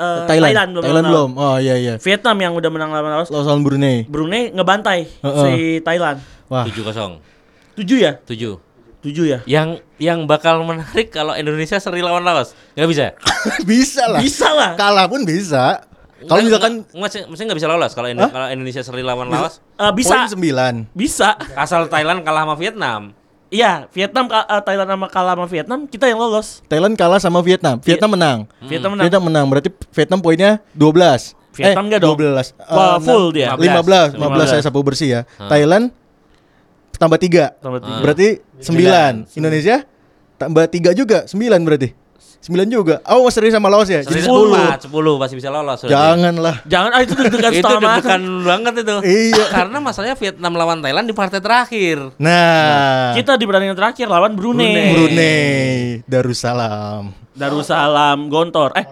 Speaker 3: Eh,
Speaker 2: Thailand. Thailand belum.
Speaker 3: belum. menang lawan-
Speaker 2: Oh iya iya.
Speaker 3: Vietnam yang udah menang lawan Laos.
Speaker 2: Laos lawan Brunei.
Speaker 3: Brunei ngebantai
Speaker 2: Heeh.
Speaker 3: si Thailand.
Speaker 2: Wah.
Speaker 4: 7-0.
Speaker 3: 7 ya?
Speaker 4: 7.
Speaker 3: 7 ya?
Speaker 4: Yang yang bakal menarik kalau Indonesia seri lawan Laos. Enggak bisa. ya?
Speaker 2: bisa lah.
Speaker 3: Bisa lah.
Speaker 2: Kalah pun bisa. Kalau misalkan
Speaker 4: masih masih enggak bisa lolos kalau Indo-
Speaker 2: Hah?
Speaker 4: kalau Indonesia seri lawan Laos.
Speaker 3: Eh,
Speaker 2: poin
Speaker 3: bisa.
Speaker 2: 9.
Speaker 3: Bisa.
Speaker 4: Asal Thailand kalah sama Vietnam.
Speaker 3: Iya, Vietnam ka- eh, Thailand sama kalah sama Vietnam, kita yang lolos.
Speaker 2: Thailand kalah sama Vietnam. Vietnam menang.
Speaker 3: Iya.
Speaker 4: Hmm.
Speaker 3: Vietnam menang.
Speaker 2: Vietnam menang berarti Vietnam poinnya Eh, 12.
Speaker 3: Vietnam enggak dong?
Speaker 2: 12.
Speaker 3: Wah, full dia.
Speaker 2: 15, 15,
Speaker 3: 15.
Speaker 2: saya sapu bersih ya. Thailand tambah 3.
Speaker 3: Tambah
Speaker 4: Ah.
Speaker 3: tiga.
Speaker 2: Berarti 9. Indonesia tambah 3 juga, 9 berarti. 9 juga. Oh, seri sama Laos ya.
Speaker 4: Seri
Speaker 2: Jadi
Speaker 4: 10.
Speaker 2: 10.
Speaker 4: 10 pasti bisa lolos. berarti.
Speaker 2: Janganlah.
Speaker 3: Jangan ah itu deg-degan
Speaker 4: itu
Speaker 3: setengah mati.
Speaker 4: deg-degan banget itu.
Speaker 2: Iya.
Speaker 4: Karena masalahnya Vietnam lawan Thailand di partai terakhir.
Speaker 2: Nah,
Speaker 3: Kita Eh. di pertandingan terakhir lawan Brunei.
Speaker 2: Brunei Darussalam.
Speaker 3: Darussalam Gontor. Eh,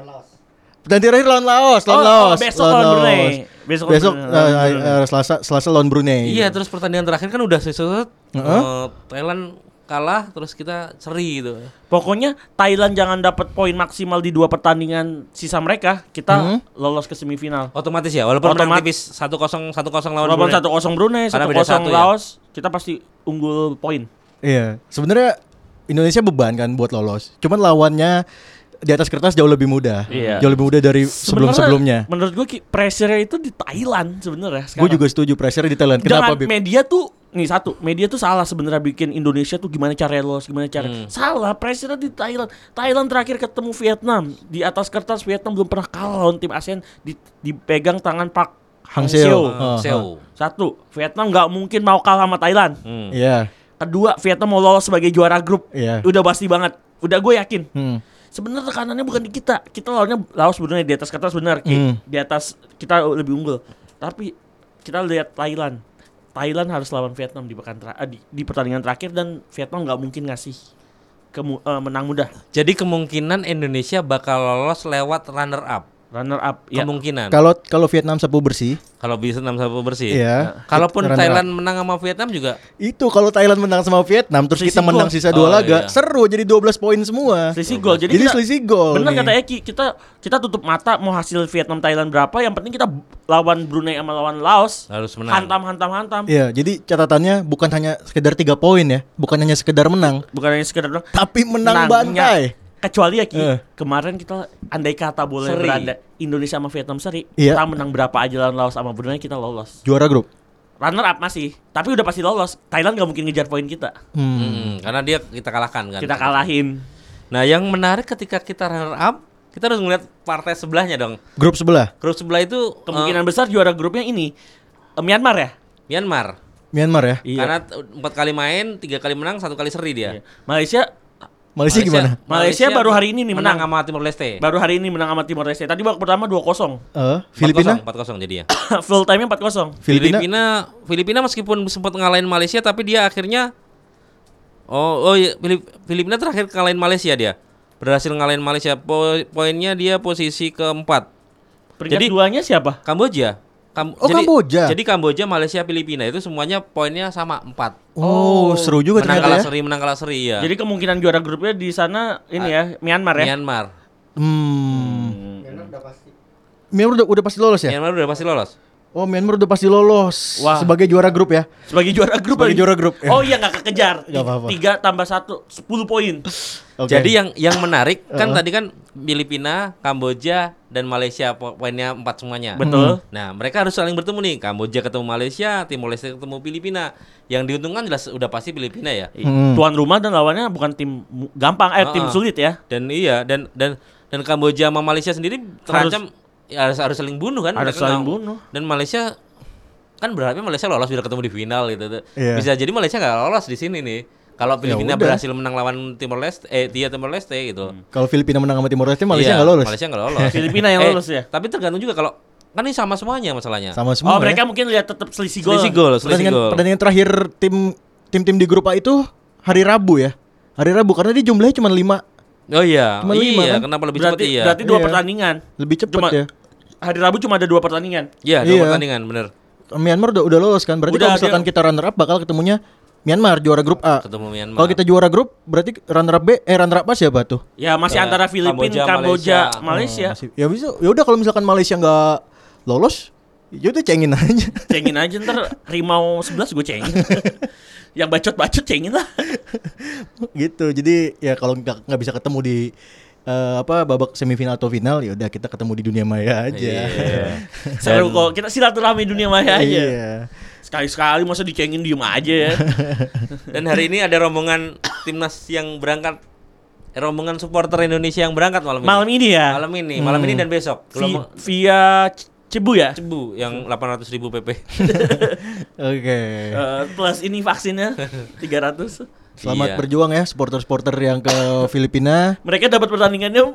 Speaker 2: Dan terakhir lawan Laos, lawan
Speaker 3: Oh, oh,
Speaker 2: Laos.
Speaker 3: besok lawan Brunei.
Speaker 2: Besok,
Speaker 3: Besok
Speaker 2: besok
Speaker 3: lawan Brunei. Iya.
Speaker 2: eh, eh, Selasa Selasa lawan Brunei.
Speaker 4: Iya, terus pertandingan terakhir kan udah sesuatu
Speaker 2: Heeh.
Speaker 4: Thailand kalah terus kita seri gitu.
Speaker 3: Pokoknya Thailand jangan dapat poin maksimal di dua pertandingan sisa mereka,
Speaker 2: Hmm.
Speaker 3: kita lolos ke semifinal.
Speaker 4: Otomatis ya, walaupun menang
Speaker 3: Otomat-
Speaker 4: tipis 1-0 1-0 lawan
Speaker 3: Walaupun
Speaker 4: Brunei.
Speaker 3: satu kosong Brunei,
Speaker 4: Karena
Speaker 3: satu
Speaker 4: beda
Speaker 3: kosong
Speaker 4: satu ya.
Speaker 3: Laos, kita pasti unggul poin.
Speaker 2: Iya, sebenarnya Indonesia beban kan buat lolos. Cuman lawannya di atas kertas jauh lebih mudah,
Speaker 3: Iya.
Speaker 2: jauh lebih mudah dari
Speaker 3: Sebenarnya,
Speaker 2: sebelum-sebelumnya.
Speaker 3: Menurut gue ki- pressure-nya itu di Thailand sebenarnya.
Speaker 2: Gue
Speaker 3: sekarang.
Speaker 2: juga setuju pressure di Thailand.
Speaker 3: Jangan
Speaker 2: Kenapa? Bib?
Speaker 3: media tuh nih satu, media tuh salah sebenarnya bikin Indonesia tuh gimana cara lolos, gimana cara.
Speaker 2: Hmm.
Speaker 3: Salah, pressure di Thailand. Thailand terakhir ketemu Vietnam, di atas kertas Vietnam belum pernah kalah lawan tim ASEAN di- dipegang tangan Pak
Speaker 2: Hang
Speaker 3: Hang
Speaker 2: Seo.
Speaker 3: Seo.
Speaker 2: Heeh.
Speaker 4: Seo.
Speaker 3: Satu, Vietnam nggak mungkin mau kalah sama Thailand.
Speaker 4: Hmm.
Speaker 2: Iya,
Speaker 3: Kedua, Vietnam mau lolos sebagai juara grup.
Speaker 2: Iya.
Speaker 3: Udah pasti banget. Udah gue yakin.
Speaker 2: Hmm.
Speaker 3: Sebenarnya tekanannya bukan di kita. Kita lawannya Laos sebenarnya di atas kertas benar. Ki.
Speaker 2: Hmm.
Speaker 3: Di atas kita lebih unggul. Tapi kita lihat Thailand. Thailand harus lawan Vietnam di pekan tera- eh, di, di pertandingan terakhir dan Vietnam nggak mungkin ngasih kemu- eh, menang mudah.
Speaker 4: Jadi kemungkinan Indonesia bakal lolos lewat runner up.
Speaker 3: Runner up
Speaker 2: Iya.
Speaker 3: ya.
Speaker 4: Kemungkinan.
Speaker 2: kalau kalau Vietnam sapu bersih,
Speaker 4: Kalau bisa 6 satu bersih.
Speaker 2: Iya.
Speaker 4: Kalaupun
Speaker 2: Runner up.
Speaker 4: Thailand menang sama Vietnam juga
Speaker 2: itu kalau Thailand menang sama Vietnam terus kita menang sisa dua
Speaker 4: Oh,
Speaker 2: laga,
Speaker 4: iya.
Speaker 2: seru jadi 12 poin semua.
Speaker 3: Selisih gol. Jadi,
Speaker 2: Jadi
Speaker 3: kita-
Speaker 2: selisih gol
Speaker 3: Benar
Speaker 2: nih.
Speaker 3: kata Eki, kita kita tutup mata mau hasil Vietnam Thailand berapa, yang penting kita b- lawan Brunei sama lawan Laos.
Speaker 4: harus menang.
Speaker 3: Hantam hantam hantam.
Speaker 2: Iya, jadi catatannya bukan hanya sekedar tiga poin ya, bukan hanya sekedar menang,
Speaker 3: Bukan hanya sekedar bilang,
Speaker 2: tapi menang
Speaker 3: Menangnya.
Speaker 2: bantai.
Speaker 3: Kecuali ya Ki,
Speaker 2: Eh.
Speaker 3: kemarin kita andai kata boleh
Speaker 4: Seri.
Speaker 3: beranda Indonesia sama Vietnam seri,
Speaker 2: Iya.
Speaker 3: kita menang berapa aja lawan Laos sama Brunei kita lolos.
Speaker 2: Juara grup.
Speaker 3: Runner up masih, tapi udah pasti lolos. Thailand nggak mungkin ngejar poin kita.
Speaker 2: Hmm.
Speaker 4: Hmm, karena dia kita kalahkan kan.
Speaker 3: Kita kalahin.
Speaker 4: Nah, yang menarik ketika kita runner up, kita harus ngeliat partai sebelahnya dong.
Speaker 2: Grup sebelah,
Speaker 4: Grup sebelah itu eh,
Speaker 3: Kemungkinan besar juara grupnya ini eh, Myanmar ya?
Speaker 4: Myanmar.
Speaker 2: Myanmar ya.
Speaker 3: Iya.
Speaker 4: Karena t- empat kali main, tiga kali menang, satu kali seri dia.
Speaker 3: Malaysia
Speaker 2: Malaysia, gimana?
Speaker 3: Malaysia baru hari ini nih menang.
Speaker 4: sama Timor Leste.
Speaker 3: baru hari ini menang sama Timor Leste. Tadi babak pertama 2-0.
Speaker 2: Eh, Filipina?
Speaker 4: 4-0 jadinya.
Speaker 3: Full time-nya 4-0.
Speaker 2: Filipina?
Speaker 4: Filipina Filipina meskipun sempat ngalahin Malaysia tapi dia akhirnya Oh, oh iya, Filip- Filipina terakhir ngalahin Malaysia dia. Berhasil ngalahin Malaysia. Po- poinnya dia posisi keempat.
Speaker 3: Peringkat
Speaker 4: Jadi-
Speaker 3: duanya siapa?
Speaker 4: Kamboja. Kam-
Speaker 2: Oh, Kamboja.
Speaker 4: Jadi Kamboja, Malaysia, Filipina itu semuanya poinnya sama empat.
Speaker 2: Oh, seru juga
Speaker 4: menang
Speaker 2: ternyata
Speaker 4: kalah
Speaker 2: ya.
Speaker 4: seri, menang kalah seri ya.
Speaker 3: Jadi kemungkinan juara grupnya di sana ini ya Myanmar ya.
Speaker 4: Myanmar.
Speaker 2: Hmm. Myanmar udah, udah pasti lolos ya?
Speaker 4: Myanmar udah pasti lolos.
Speaker 2: Oh, Myanmar udah pasti lolos
Speaker 3: Wah.
Speaker 2: sebagai juara grup ya.
Speaker 3: Sebagai juara grup.
Speaker 2: Sebagai
Speaker 3: lagi.
Speaker 2: juara grup, ya.
Speaker 3: Oh iya nggak kekejar.
Speaker 2: Nggak apa-apa.
Speaker 3: Tiga tambah satu, sepuluh poin.
Speaker 2: Oke.
Speaker 4: Jadi ya- yang yang menarik kan tadi kan Filipina, Kamboja dan Malaysia po- poinnya empat semuanya.
Speaker 3: Betul.
Speaker 4: Nah, mereka harus saling bertemu nih. Kamboja ketemu Malaysia, Timor Leste ketemu Filipina. Yang diuntungkan jelas udah pasti Filipina ya.
Speaker 2: Hmm.
Speaker 3: Iya. Tuan rumah dan lawannya bukan tim mu- gampang, eh tim
Speaker 4: Ah.
Speaker 3: sulit ya.
Speaker 4: Dan iya dan dan dan Kamboja sama Malaysia sendiri terancam ya, harus harus saling bunuh kan.
Speaker 3: Harus
Speaker 4: Mereka
Speaker 3: saling
Speaker 4: nggak-
Speaker 3: bunuh.
Speaker 4: Dan Malaysia kan berharapnya Malaysia lolos bila ketemu di final gitu.
Speaker 2: Iya.
Speaker 4: Bisa jadi Malaysia nggak lolos di sini nih. Kalau Filipina
Speaker 2: udah.
Speaker 4: berhasil menang lawan Timor Leste, eh dia Timor Leste gitu.
Speaker 2: kalau Filipina menang sama Timor Leste, Malaysia
Speaker 4: Iya,
Speaker 2: nggak lolos.
Speaker 4: Malaysia nggak lolos. Eh,
Speaker 3: Filipina yang lolos ya?
Speaker 4: Tapi tergantung juga kalau kan ini sama semuanya masalahnya.
Speaker 2: Sama semua.
Speaker 3: oh
Speaker 2: ya.
Speaker 3: mereka mungkin lihat tetap selisih gol.
Speaker 4: Selisih gol, selisih
Speaker 2: pertandingan,
Speaker 4: gol.
Speaker 2: pertandingan terakhir tim tim-tim di grup A itu hari Rabu ya. Hari Rabu karena dia jumlahnya cuma 5
Speaker 4: Oh iya,
Speaker 2: Cuma lima,
Speaker 4: iya,
Speaker 2: kan?
Speaker 4: kenapa lebih cepat
Speaker 3: Berarti
Speaker 4: iya?
Speaker 3: berarti dua
Speaker 2: Iya.
Speaker 3: pertandingan.
Speaker 2: lebih cepat
Speaker 3: Cuma-
Speaker 2: ya.
Speaker 3: Hari Rabu cuma ada dua pertandingan.
Speaker 4: Iya, dua
Speaker 2: Iya.
Speaker 4: pertandingan bener.
Speaker 2: Myanmar udah udah lolos kan. Berarti
Speaker 3: Udah,
Speaker 2: kalau misalkan
Speaker 3: dia-
Speaker 2: kita runner up bakal ketemunya Myanmar juara grup A.
Speaker 4: Ketemu Myanmar.
Speaker 2: Kalau gitu kita juara grup berarti runner up B eh runner up A siapa tuh?
Speaker 3: Ya masih
Speaker 4: Ya,
Speaker 3: antara Filipina,
Speaker 4: Kamboja,
Speaker 3: Kamboja,
Speaker 4: Malaysia.
Speaker 3: Malaysia.
Speaker 2: Masih- Ya bisa. Ya udah kalau misalkan Malaysia nggak lolos, ya udah cengin aja.
Speaker 3: Cengin aja ntar Rimau 11 gue cengin. yang bacot-bacot cengin lah.
Speaker 2: gitu. Jadi ya kalau nggak nggak bisa ketemu di eh, apa babak semifinal atau final ya udah kita ketemu di dunia maya aja.
Speaker 4: Iya.
Speaker 3: Seru kok. Kita silaturahmi dunia maya aja.
Speaker 2: Iya.
Speaker 3: Sekali-sekali masa dicengin diem aja ya.
Speaker 4: Dan hari ini ada rombongan timnas yang berangkat eh, rombongan supporter Indonesia yang berangkat malam ini.
Speaker 3: Malam ini ya.
Speaker 4: Malam ini, malam
Speaker 2: Hmm.
Speaker 4: ini dan besok.
Speaker 3: Vi-
Speaker 4: Gelombang
Speaker 3: via C- Cebu ya.
Speaker 4: Cebu yang 800.000 ribu PP.
Speaker 2: Oke.
Speaker 3: Eh, plus ini vaksinnya 300.
Speaker 2: Selamat
Speaker 4: Iya.
Speaker 2: berjuang ya supporter-supporter yang ke Filipina.
Speaker 3: Mereka dapat pertandingannya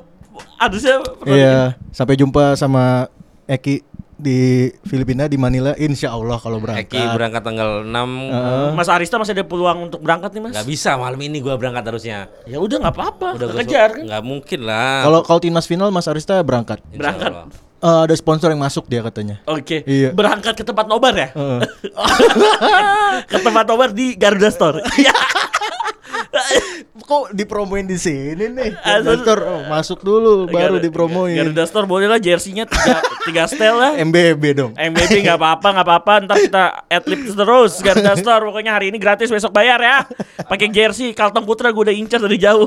Speaker 3: harusnya pertandingan.
Speaker 2: Iya, sampai jumpa sama Eki di Filipina di Manila insya Allah kalau berangkat.
Speaker 4: Eki berangkat tanggal 6
Speaker 2: Heeh.
Speaker 3: Mas Arista masih ada peluang untuk berangkat nih Mas.
Speaker 4: Gak bisa malam ini gua berangkat harusnya.
Speaker 3: Ya udah nggak apa-apa.
Speaker 4: Udah gua
Speaker 3: kejar kan.
Speaker 4: Gak mungkin lah.
Speaker 2: Kalau kalau timnas final Mas Arista berangkat.
Speaker 4: Insya
Speaker 3: berangkat.
Speaker 4: Allah.
Speaker 2: Eh, ada sponsor yang masuk dia katanya.
Speaker 3: Oke.
Speaker 2: Iya.
Speaker 3: Berangkat ke tempat nobar ya?
Speaker 2: Heeh.
Speaker 3: ke tempat nobar di Garuda Store. Iya.
Speaker 2: kok dipromoin di sini nih?
Speaker 3: Asal-
Speaker 2: Garuda Store, oh, masuk dulu baru
Speaker 3: Garuda-
Speaker 2: dipromoin.
Speaker 3: Garuda Store boleh lah jersey-nya tiga, tiga setel lah.
Speaker 2: MBB dong.
Speaker 4: Eh,
Speaker 3: MBB Eh, nggak apa-apa nggak apa-apa ntar kita adlib terus Garuda Store pokoknya hari ini gratis besok bayar ya pakai jersey Kalteng Putra gue udah incar dari jauh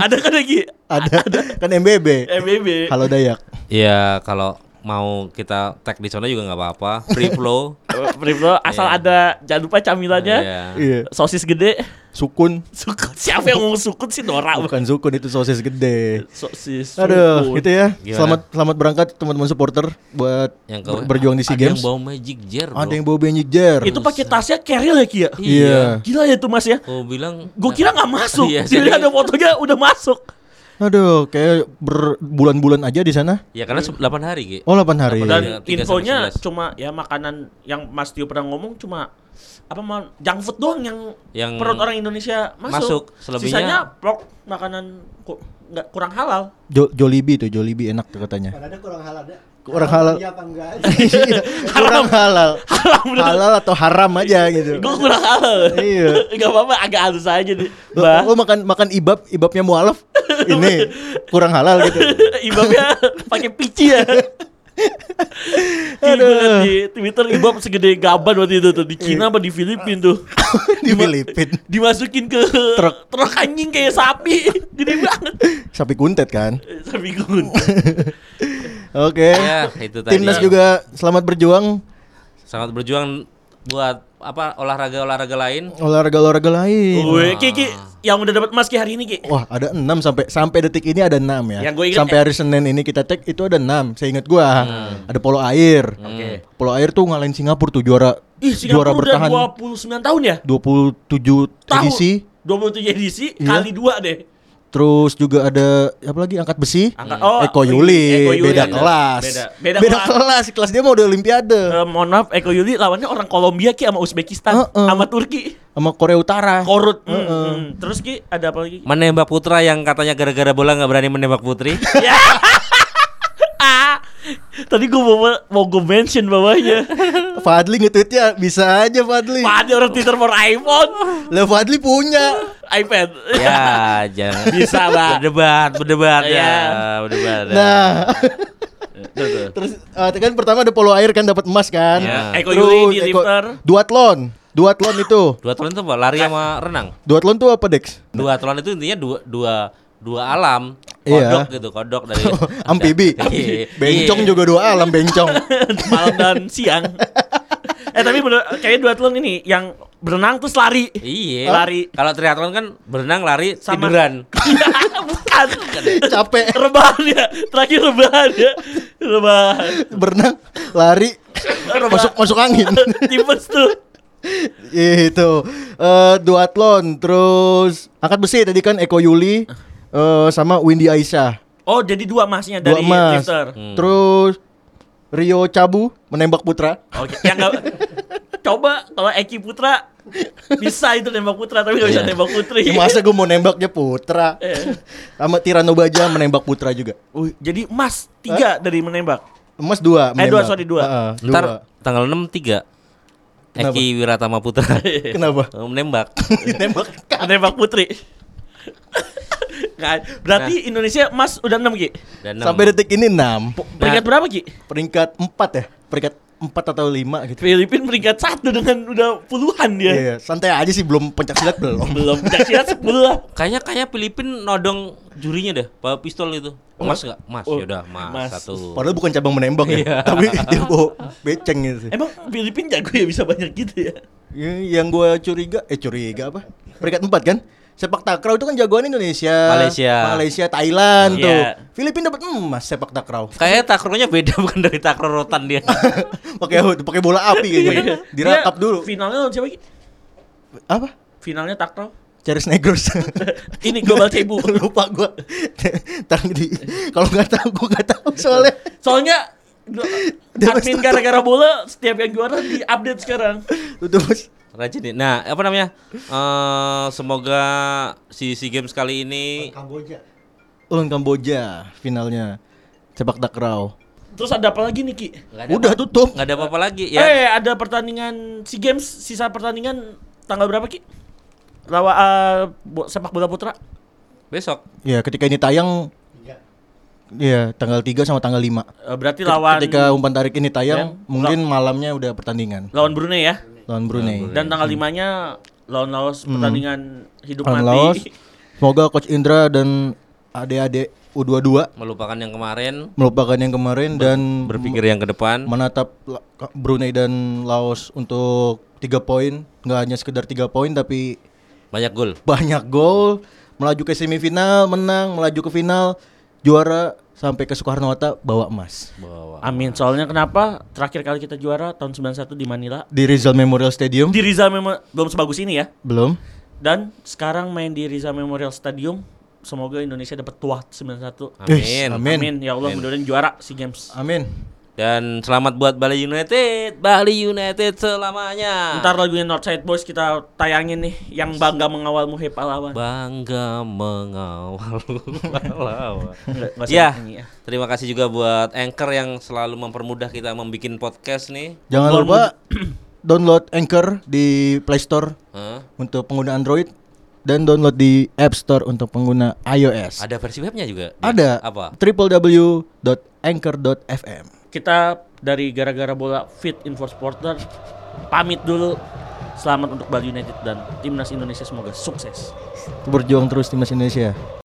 Speaker 3: ada kan lagi Eh,
Speaker 2: Ada kan MBB.
Speaker 3: MBB
Speaker 2: Halo Dayak.
Speaker 4: Ya kalau mau kita tag di sana juga nggak apa-apa. Free flow.
Speaker 3: Pripto Oh, asal
Speaker 4: Iya.
Speaker 3: ada jangan lupa camilannya
Speaker 4: Iya.
Speaker 2: Iya.
Speaker 3: sosis gede
Speaker 2: Sukun.
Speaker 3: sukut siapa yang ngomong sukut sih Nora
Speaker 2: Bukan sukun itu sosis gede.
Speaker 3: sosis
Speaker 2: Aduh,
Speaker 3: sukut.
Speaker 2: gitu ya.
Speaker 4: Gimana?
Speaker 2: Selamat selamat berangkat teman-teman supporter buat
Speaker 4: Yang kau
Speaker 2: ber- berjuang di SEA
Speaker 4: ada
Speaker 2: Games.
Speaker 4: Yang bawa magic jar.
Speaker 2: Ada
Speaker 4: bro.
Speaker 2: yang bawa Benjik Jer.
Speaker 3: itu pakai tasnya carrier ya Kia
Speaker 4: Iya.
Speaker 2: Iya.
Speaker 3: gila ya itu mas ya
Speaker 4: Gua bilang.
Speaker 3: gue kira nggak masuk
Speaker 4: Iya,
Speaker 3: jadi
Speaker 4: serius.
Speaker 3: ada fotonya udah masuk
Speaker 2: Aduh, kayak berbulan-bulan aja di sana.
Speaker 4: Ya karena se- 8 hari Ki.
Speaker 2: Oh, 8 hari.
Speaker 4: Delapan
Speaker 3: dan
Speaker 4: Iya, tiga sampai
Speaker 3: infonya
Speaker 4: sebelas.
Speaker 3: cuma ya makanan yang Mas Tio pernah ngomong cuma apa mau junk food doang yang,
Speaker 4: Yang
Speaker 3: perut orang Indonesia
Speaker 4: masuk.
Speaker 3: masuk,
Speaker 4: Selebihnya-
Speaker 3: sisanya plok makanan ku- nggak kurang halal
Speaker 2: Jo- Jollibee tuh, Jollibee enak tuh katanya.
Speaker 6: Padahal kurang halal deh.
Speaker 2: Kurang halal.
Speaker 6: Iya apa enggak?
Speaker 2: Iya, Kurang halal. Halal atau haram aja gitu.
Speaker 3: gue kurang halal
Speaker 2: Iya.
Speaker 3: nggak apa-apa agak halus aja deh
Speaker 2: Lo,
Speaker 3: bah
Speaker 2: lo oh, makan makan ibab, ibabnya mualaf. Ini kurang halal gitu.
Speaker 3: ibabnya pakai pici ya Ih, gua liat di Twitter ibab segede gaban waktu itu tuh di
Speaker 4: Iya.
Speaker 3: Cina apa di Filipina tuh
Speaker 2: di Filipin.
Speaker 3: dimasukin ke
Speaker 2: Truk.
Speaker 3: truk anjing kayak sapi gede banget
Speaker 2: Sapi kuntet kan.
Speaker 3: sapi gun
Speaker 2: Oke.
Speaker 4: Ya, itu tadi.
Speaker 2: iya. Timnas juga selamat berjuang.
Speaker 4: Sangat berjuang buat apa olahraga-olahraga lain.
Speaker 2: Olahraga-olahraga lain.
Speaker 3: Wih, Ki, Ki, yang udah dapat emas Ki hari ini Ki.
Speaker 2: Wah, ada 6 sampai sampai detik ini ada 6 ya.
Speaker 3: Yang gua inget-
Speaker 2: sampai hari Senin ini kita cek itu ada 6. Saya ingat gua.
Speaker 3: Hmm.
Speaker 2: Ada polo air. Polo air tuh ngalahin Singapura tuh juara
Speaker 3: Ih,
Speaker 2: juara
Speaker 3: Singapura udah
Speaker 2: bertahan
Speaker 3: 29 tahun ya?
Speaker 2: 27
Speaker 3: Tahun.
Speaker 2: edisi.
Speaker 3: 27 edisi
Speaker 2: Iya.
Speaker 3: kali 2 deh.
Speaker 2: Terus juga ada apa lagi angkat besi?
Speaker 3: Angkat- oh,
Speaker 2: Eko
Speaker 3: Eko
Speaker 2: Yuli,
Speaker 3: Yuli,
Speaker 2: beda
Speaker 3: ada.
Speaker 2: kelas.
Speaker 3: Beda-
Speaker 2: beda,
Speaker 3: beda
Speaker 2: kelas. kelas. dia mau udah olimpiade
Speaker 3: Eh, mohon maaf Eko Yuli lawannya orang Kolombia Ki sama Uzbekistan
Speaker 2: Heeh.
Speaker 3: sama Turki.
Speaker 2: sama Korea Utara.
Speaker 3: Korut. Hmm,
Speaker 2: Heeh.
Speaker 3: hmm. Terus Ki ada apa lagi?
Speaker 4: Menembak putra yang katanya gara-gara bola nggak berani menembak putri.
Speaker 3: Ya. Ah. Tadi gue mau mau gue mention bawahnya.
Speaker 2: Fadli nge-tweetnya bisa aja Fadli.
Speaker 3: Pak ada orang Twitter for iPhone,
Speaker 2: Lah Fadli punya.
Speaker 3: iPad.
Speaker 4: ya, jangan.
Speaker 3: Bisa, Pak.
Speaker 4: Berdebat, berdebat ya,
Speaker 3: Iya.
Speaker 4: berdebat. ya.
Speaker 2: Nah,
Speaker 3: Tuh, tuh.
Speaker 2: terus eh, kan pertama ada polo air kan dapat emas kan.
Speaker 4: Iya.
Speaker 3: Eko Eh, Yuli di
Speaker 2: Eko-
Speaker 3: lifter.
Speaker 2: Duatlon. Duatlon itu.
Speaker 4: Dua telon itu apa? Lari sama renang.
Speaker 2: Duatlon tuh apa, Dex?
Speaker 4: Dua telon itu intinya dua dua dua alam.
Speaker 2: Nah. Iya.
Speaker 4: Kodok gitu, kodok dari
Speaker 2: Ampibi.
Speaker 4: Iya.
Speaker 2: bencong
Speaker 4: Iya.
Speaker 2: juga dua alam bencong.
Speaker 3: malam dan siang. eh tapi bener, kayaknya duathlon ini yang berenang terus lari.
Speaker 4: Iya.
Speaker 3: Lari.
Speaker 4: Kalau triathlon kan berenang, lari,
Speaker 3: Sama.
Speaker 4: tiduran.
Speaker 3: Bukan.
Speaker 2: Capek
Speaker 3: rebahan ya. Terakhir rebahan ya. Rebahan.
Speaker 2: berenang, lari, masuk masuk angin.
Speaker 3: Tipes tuh.
Speaker 2: itu. Eh duatlon, terus angkat besi tadi kan Eko Yuli eh, sama Windy Aisyah.
Speaker 3: Oh jadi dua emasnya
Speaker 2: Dua
Speaker 3: dari
Speaker 2: emas.
Speaker 3: lifter.
Speaker 2: Hmm. Terus Rio Cabu menembak putra.
Speaker 3: Oke. Yang gak, coba kalau Eki Putra bisa itu nembak putra tapi gak bisa
Speaker 4: Iya.
Speaker 3: nembak putri.
Speaker 2: Ya, masa gue mau nembaknya putra
Speaker 3: Eh.
Speaker 2: sama Tirano Baja menembak putra juga
Speaker 3: Wih, jadi emas tiga dari menembak.
Speaker 2: emas dua
Speaker 3: Eh,
Speaker 2: menembak.
Speaker 3: dua, sorry, dua.
Speaker 2: Heeh,
Speaker 4: Ntar
Speaker 2: dua.
Speaker 4: tanggal 6 3
Speaker 2: Kenapa?
Speaker 4: Eki Wiratama Putra
Speaker 2: kenapa
Speaker 4: menembak.
Speaker 2: nembak
Speaker 3: Menembak putri. Nggak- Berarti Indonesia emas udah enam Ki.
Speaker 4: Dan
Speaker 2: sampai detik ini enam
Speaker 3: Peringkat berapa Ki?
Speaker 2: peringkat empat ya peringkat empat atau lima gitu
Speaker 3: Filipin peringkat satu dengan udah puluhan dia.
Speaker 2: Iya, santai aja sih belum pencak silat belum
Speaker 3: Belum Caksilat 10 lah.
Speaker 4: Kayaknya kayak Filipin nodong jurinya deh, bawa pistol itu. Mas enggak? Mas,
Speaker 3: Oh.
Speaker 4: yaudah, mas,
Speaker 3: Mas.
Speaker 4: satu.
Speaker 2: padahal bukan cabang menembak
Speaker 3: Iya.
Speaker 2: ya tapi dia bawa beceng gitu sih
Speaker 3: Emang Filipin jago ya bisa banyak gitu ya.
Speaker 2: Ya, yang gue curiga eh curiga apa peringkat empat kan sepak takraw itu kan jagoan Indonesia
Speaker 4: Malaysia.
Speaker 2: Malaysia Thailand
Speaker 3: Iya.
Speaker 2: tuh Filipina dapat emas sepak takraw
Speaker 4: Kayaknya takronya beda bukan dari takro rotan dia.
Speaker 2: pakai pakai bola api kayaknya dirakap
Speaker 3: Iya. Dia
Speaker 2: Iya. dulu
Speaker 3: Finalnya lawan siapa Ki?
Speaker 2: apa
Speaker 3: Finalnya takraw.
Speaker 2: Charles Negros
Speaker 3: Ini global cebu.
Speaker 2: lupa gua Ntar di kalau nggak tahu gua nggak tahu soalnya
Speaker 3: Soalnya glo-
Speaker 2: Dia pasti-
Speaker 3: admin gara-gara bola setiap yang juara di update sekarang.
Speaker 2: itu bos
Speaker 4: Rajin nih. Nah, apa namanya? Eh semoga si SEA Games kali ini
Speaker 6: Kamboja.
Speaker 2: ulang Kamboja finalnya sepak takraw
Speaker 3: Terus ada apa lagi nih Ki?
Speaker 2: udah tutup
Speaker 4: nggak ada
Speaker 2: Iya.
Speaker 4: apa-apa lagi ya.
Speaker 3: Eh ada pertandingan SEA Games sisa pertandingan tanggal berapa Ki? lawa eh, bo- sepak bola putra
Speaker 4: Besok
Speaker 2: Ya, ketika ini tayang Iya, tanggal 3 sama tanggal 5.
Speaker 3: Eh, berarti lawan
Speaker 2: ketika umpan tarik ini tayang,
Speaker 3: Ya.
Speaker 2: mungkin malamnya udah pertandingan
Speaker 3: lawan Brunei ya
Speaker 2: lawan Brunei. Hmm.
Speaker 3: dan tanggal limanya lawan Laos pertandingan hidup
Speaker 2: Lawan
Speaker 3: mati
Speaker 2: Laos. Semoga coach Indra dan adik-adik U22
Speaker 4: melupakan yang kemarin,
Speaker 2: melupakan yang kemarin dan
Speaker 4: berpikir yang ke depan.
Speaker 2: menatap La- Ka- Brunei dan Laos untuk tiga poin, nggak hanya sekedar tiga poin tapi
Speaker 4: Banyak gol.
Speaker 2: banyak gol, melaju ke semifinal, menang, melaju ke final, juara sampai ke Soekarno Hatta bawa emas
Speaker 4: Bawa.
Speaker 3: Amin. Soalnya kenapa terakhir kali kita juara tahun 91 di Manila.
Speaker 2: di Rizal Memorial Stadium
Speaker 3: Di Rizal memang belum sebagus ini ya.
Speaker 2: belum
Speaker 3: Dan sekarang main di Rizal Memorial Stadium. Semoga Indonesia dapat tuah 91.
Speaker 4: Amin.
Speaker 2: Yes,
Speaker 3: Amin.
Speaker 2: amin.
Speaker 3: Ya Allah mudah-mudahan juara SEA Games.
Speaker 2: Amin.
Speaker 4: Dan selamat buat Bali United. Bali United selamanya.
Speaker 3: Ntar lagunya Northside Boys kita tayangin nih yang bangga mengawalmu hei pahlawan.
Speaker 4: Bangga mengawal lawan.
Speaker 3: Nggak- nggak usah
Speaker 4: Ya,
Speaker 3: nyanyi ya.
Speaker 4: terima kasih juga buat Anchor yang selalu mempermudah kita membuat podcast nih.
Speaker 2: Jangan
Speaker 3: Gol
Speaker 2: lupa download Anchor di Play Store
Speaker 4: Hah?
Speaker 2: untuk pengguna Android dan download di App Store untuk pengguna iOS.
Speaker 4: Ada versi webnya juga. Dit?
Speaker 2: Ada,
Speaker 4: Apa?
Speaker 2: www.anchor.fm.
Speaker 3: Kita dari gara-gara bola Fit Info Sporter pamit dulu. Selamat untuk Bali United dan timnas Indonesia semoga sukses.
Speaker 2: Berjuang terus timnas Indonesia.